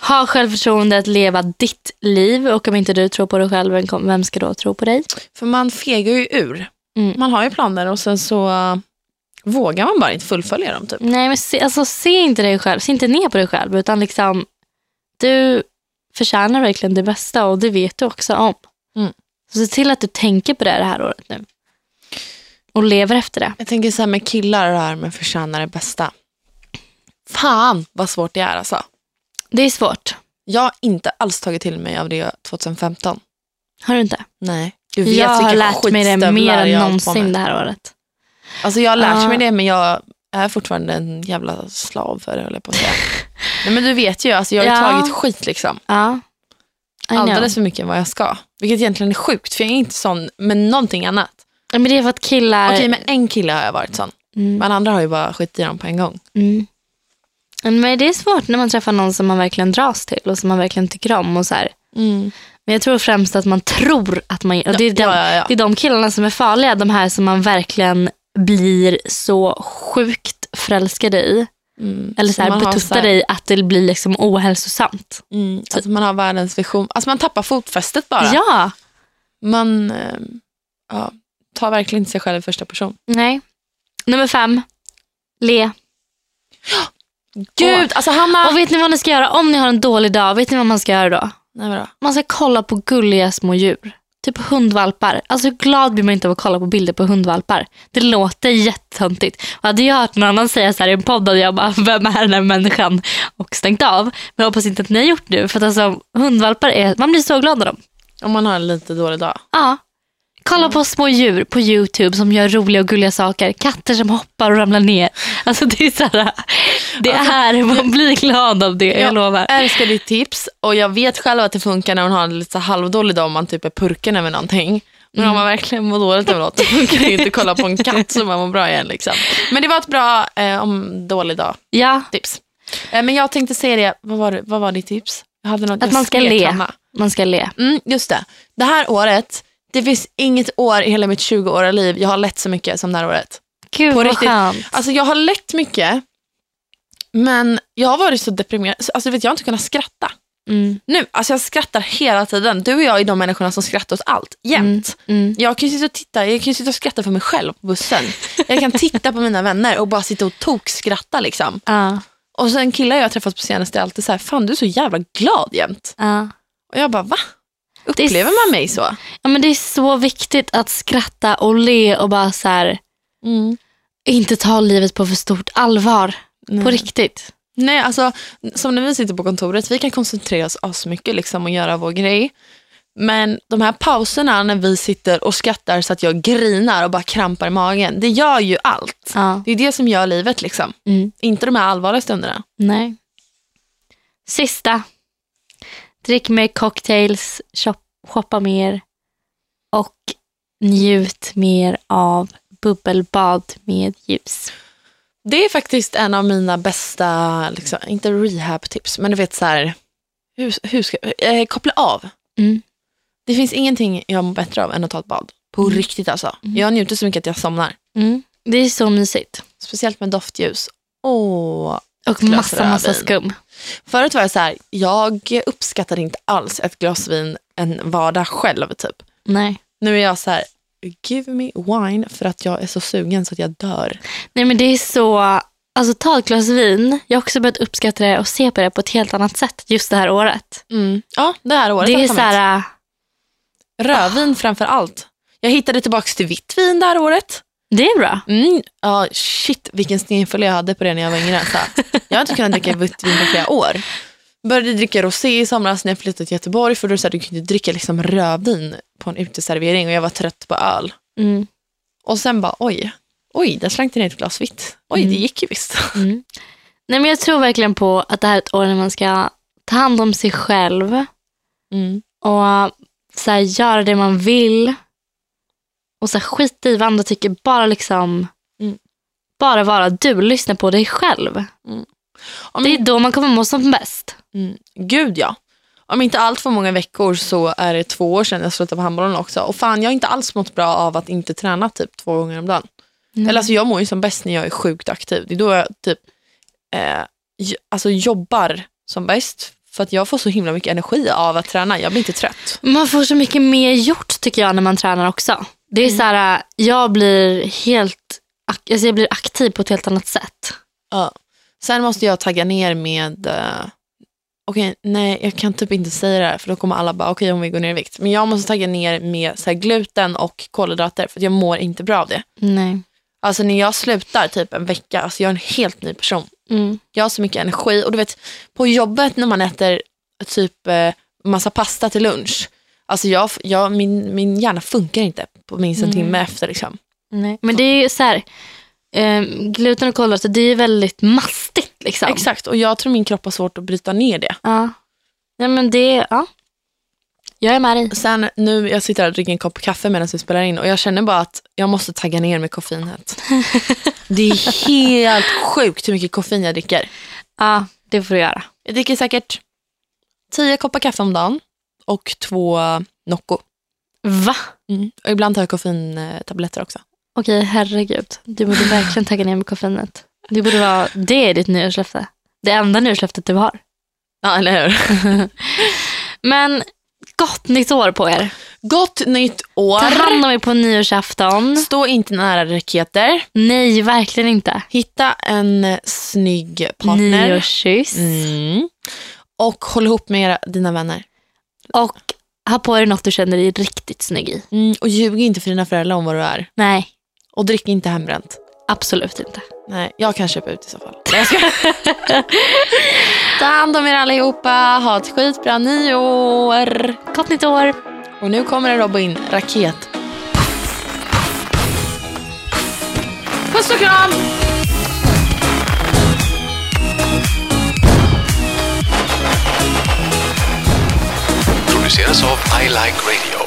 Speaker 2: Ha självförtroende att leva ditt liv och om inte du tror på dig själv, vem kom- vem ska då tro på dig?
Speaker 1: För man fegar ju ur.
Speaker 2: Mm.
Speaker 1: Man har ju planer och sen så eh, vågar man bara inte fullfölja dem. Typ.
Speaker 2: Nej, men se, alltså, se inte dig själv, se inte ner på dig själv utan liksom du förtjänar verkligen det bästa och det vet du också om.
Speaker 1: Mm.
Speaker 2: Så se till att du tänker på det det här året nu och lever efter det.
Speaker 1: Jag tänker så här med killar och det här med förtjäna det bästa. Fan vad svårt det är alltså.
Speaker 2: Det är svårt,
Speaker 1: Jag har inte alls tagit till mig av det 2015.
Speaker 2: har du inte?
Speaker 1: Nej. Du
Speaker 2: Jag har
Speaker 1: vilka
Speaker 2: lärt mig det
Speaker 1: skitstövlar
Speaker 2: mer
Speaker 1: jag
Speaker 2: än
Speaker 1: har hållit på
Speaker 2: någonsin
Speaker 1: med.
Speaker 2: det här året.
Speaker 1: Alltså jag har lärt
Speaker 2: Ja.
Speaker 1: mig det men jag är fortfarande en jävla slav för det höll jag på att säga. Nej, men du vet ju, alltså jag har ju
Speaker 2: Ja.
Speaker 1: tagit skit liksom.
Speaker 2: Ja, I know.
Speaker 1: Alldeles för mycket än vad jag ska. Vilket egentligen är sjukt för jag är inte sån med någonting annat.
Speaker 2: Ja, Men det är för att killar...
Speaker 1: Okej, med en kille har jag varit sån.
Speaker 2: Mm.
Speaker 1: Men andra har ju bara skit i dem på en gång.
Speaker 2: Mm. Men det är svårt när man träffar någon som man verkligen dras till och som man verkligen tycker om. Och så här. Men jag tror främst att man tror att man... Och det, är de,
Speaker 1: ja, ja, ja.
Speaker 2: det är de killarna som är farliga, de här som man verkligen blir så sjukt förälskad i.
Speaker 1: Mm.
Speaker 2: Eller så här,
Speaker 1: man har så här-
Speaker 2: betuttar i att det blir liksom ohälsosamt.
Speaker 1: Mm. Att man har världens vision. Alltså man tappar fotfästet bara.
Speaker 2: Ja,
Speaker 1: Man eh, ja, tar verkligen inte sig själv i första person.
Speaker 2: nej. Nummer fem, le.
Speaker 1: Gud, alltså Hanna!
Speaker 2: Och vet ni vad ni ska göra om ni har en dålig dag? Vet ni vad man ska göra då?
Speaker 1: Nej, vadå?
Speaker 2: Man ska kolla på gulliga små djur. Typ hundvalpar. Alltså hur glad blir man inte av att kolla på bilder på hundvalpar? Det låter jättetöntigt. Och hade jag hört någon annan säga så här i en podd hade jag bara, vem är den här människan? Och stängt av. Men jag hoppas inte att ni har gjort det. För att alltså hundvalpar är, man blir så glad av dem.
Speaker 1: Om man har en lite dålig dag.
Speaker 2: Ja. Kolla på små djur på YouTube som gör roliga och gulliga saker. Katter som hoppar och ramlar ner. Alltså det är så här, Alltså, det är, man blir glad av det, jag lovar.
Speaker 1: älskar ditt tips och jag vet själv att det funkar när man har en lite så här halvdålig dag om man typ är purken över någonting. Men
Speaker 2: Mm.
Speaker 1: om man verkligen mår dåligt över något då funkar det inte att kolla på en katt som man mår bra igen. Liksom. Men det var ett bra eh, om dålig dag.
Speaker 2: Ja,
Speaker 1: tips. Eh, Men jag tänkte säga det, vad var, det- vad var ditt tips? Jag hade något
Speaker 2: Att
Speaker 1: jag
Speaker 2: man ska
Speaker 1: skrek
Speaker 2: le.
Speaker 1: hemma.
Speaker 2: Man ska le.
Speaker 1: Mm, just det. Det här året, det finns inget år i hela mitt 20-åriga liv jag har lätt så mycket som det här året.
Speaker 2: Gud
Speaker 1: På
Speaker 2: vad
Speaker 1: riktigt.
Speaker 2: skönt.
Speaker 1: Alltså jag har lätt mycket, men jag har varit så deprimerad. Så, Alltså vet, jag har inte kunnat skratta.
Speaker 2: Mm,
Speaker 1: Nu, alltså jag skrattar hela tiden. Du och jag är de människorna som skrattar åt allt, jämt.
Speaker 2: mm.
Speaker 1: Jag kan ju sitta och titta, jag kan ju sitta och skratta för mig själv på bussen. Jag kan titta på mina vänner och bara sitta och tokskratta liksom.
Speaker 2: Ja,
Speaker 1: Och sen killar jag har träffat på senaste är alltid så här, fan du är så jävla glad jämt.
Speaker 2: ja.
Speaker 1: Och jag bara, va?
Speaker 2: Det är
Speaker 1: Upplever man mig så?
Speaker 2: Ja, men det är så viktigt att skratta och le och bara så här, Mm. inte ta livet på för stort allvar.
Speaker 1: Nej.
Speaker 2: På riktigt.
Speaker 1: Nej, alltså som när vi sitter på kontoret, vi kan koncentrera oss asmycket liksom och göra vår grej. Men de här pauserna när vi sitter och skrattar så att jag grinar och bara krampar i magen, det gör ju allt.
Speaker 2: Ja.
Speaker 1: Det är det som gör livet liksom.
Speaker 2: Mm.
Speaker 1: Inte de här allvarliga stunderna.
Speaker 2: Nej. Sista. Drick mer cocktails, shop, shoppa mer och njut mer av bubbelbad med ljus.
Speaker 1: Det är faktiskt en av mina bästa, liksom, inte rehab-tips, men du vet så här, hur, hur ska, eh, koppla av.
Speaker 2: Mm.
Speaker 1: Det finns ingenting jag mår bättre av än att ta ett bad. På riktigt alltså. Jag njuter så mycket att jag somnar.
Speaker 2: Mm. Det är så mysigt.
Speaker 1: Speciellt med doftljus. Åh.
Speaker 2: Och
Speaker 1: glas
Speaker 2: massa, massa
Speaker 1: rödvin.
Speaker 2: skum.
Speaker 1: Förut var jag så här, jag uppskattade inte alls ett glas vin en vardag själv typ.
Speaker 2: Nej.
Speaker 1: Nu är jag så här, give me wine för att jag är så sugen så att jag dör.
Speaker 2: Nej men det är så, alltså ta ett glas vin. Jag har också börjat uppskatta det och se på det på ett helt annat sätt just det här året.
Speaker 1: Mm. Ja, det här året
Speaker 2: det
Speaker 1: har
Speaker 2: är
Speaker 1: kommit.
Speaker 2: så här, äh,
Speaker 1: Rödvin framför allt. Jag hittade tillbaka till vitt vin det här året.
Speaker 2: det är bra.
Speaker 1: Mm. Ja, shit vilken snedfölja jag hade på det när jag var yngre. Alltså. Jag har inte kunnat dricka vitt vin på flera år. Började dricka rosé i somras när jag flyttade till Göteborg för då sa du kunde dricka liksom rödvin på en uteservering och jag var trött på öl.
Speaker 2: Mm.
Speaker 1: Och sen bara oj, oj där slank det ner ett glas vitt. Oj det gick ju visst.
Speaker 2: mm. Nej men jag tror verkligen på att det här är ett år när man ska ta hand om sig själv
Speaker 1: Mm.
Speaker 2: och så här, göra det man vill och så här, skita i vad andra tycker. Bara liksom,
Speaker 1: Mm.
Speaker 2: bara vara du, lyssna på dig själv.
Speaker 1: Mm. Om,
Speaker 2: Det är då man kommer må som bäst.
Speaker 1: mm, gud ja. Om inte allt för många veckor så är det två år sedan jag slutade på handbollen också. Och fan jag har inte alls mått bra av att inte träna typ två gånger om dagen. Eller alltså jag mår ju som bäst när jag är sjukt aktiv. Det är då jag typ eh, j- alltså jobbar som bäst. För att jag får så himla mycket energi av att träna. Jag blir inte trött.
Speaker 2: Man får så mycket mer gjort tycker jag när man tränar också. Det är så här, jag blir helt ak- alltså jag blir aktiv på ett helt annat sätt.
Speaker 1: Ja. Sen måste jag tagga ner med, eh, okej nej jag kan typ inte säga det här för då kommer alla bara okej om vi går ner i vikt. Men jag måste tagga ner med så här, gluten och kolhydrater för att jag mår inte bra av det.
Speaker 2: Nej.
Speaker 1: Alltså när jag slutar typ en vecka, alltså jag är en helt ny person.
Speaker 2: Mm.
Speaker 1: Jag har så mycket energi och du vet på jobbet när man äter typ eh, massa pasta till lunch. Alltså jag, jag, min, min hjärna funkar inte på minst en timme efter. Liksom.
Speaker 2: Nej. Men det är ju så här, ehm, gluten och kolhydrater det är ju väldigt mastigt. Liksom.
Speaker 1: Exakt, och jag tror min kropp har svårt att bryta ner det.
Speaker 2: Ja. Nej, men det, ja. Jag är med dig.
Speaker 1: Sen nu, jag sitter här och dricker en kopp kaffe medan vi spelar in och jag känner bara att jag måste tagga ner med koffeinet. Det är helt sjukt hur mycket koffein jag dricker.
Speaker 2: Ja, det får du göra.
Speaker 1: Jag dricker säkert tio koppar kaffe om dagen och två Nocco. Mm.
Speaker 2: Va?
Speaker 1: Och ibland tar jag koffeintabletter också.
Speaker 2: Okej, herregud. Du borde verkligen tagga ner med koffeinet. Det borde vara, det är ditt nyårslöfte. Det enda nyårslöftet du har.
Speaker 1: Ja, eller hur?
Speaker 2: Men gott nytt år på er.
Speaker 1: Gott nytt
Speaker 2: Ta
Speaker 1: år!
Speaker 2: hand om er på nyårsafton.
Speaker 1: Stå inte nära raketer.
Speaker 2: Nej, verkligen inte.
Speaker 1: Hitta en eh, snygg partner.
Speaker 2: Nyårskyss.
Speaker 1: Mm. Och håll ihop med era, dina vänner.
Speaker 2: Och ha på er något du känner dig riktigt snygg i.
Speaker 1: Mm. Och ljug inte för dina föräldrar om vad du är.
Speaker 2: Nej,
Speaker 1: Och drick inte hembränt.
Speaker 2: absolut inte.
Speaker 1: Nej, jag kan köpa ut i så fall. Nej, jag skojar. Ta hand om er allihopa. Ha ett skitbra nyår.
Speaker 2: Gott nytt år.
Speaker 1: Och nu kommer en Robin raket. Puss och kram!
Speaker 4: produceras av I Like Radio.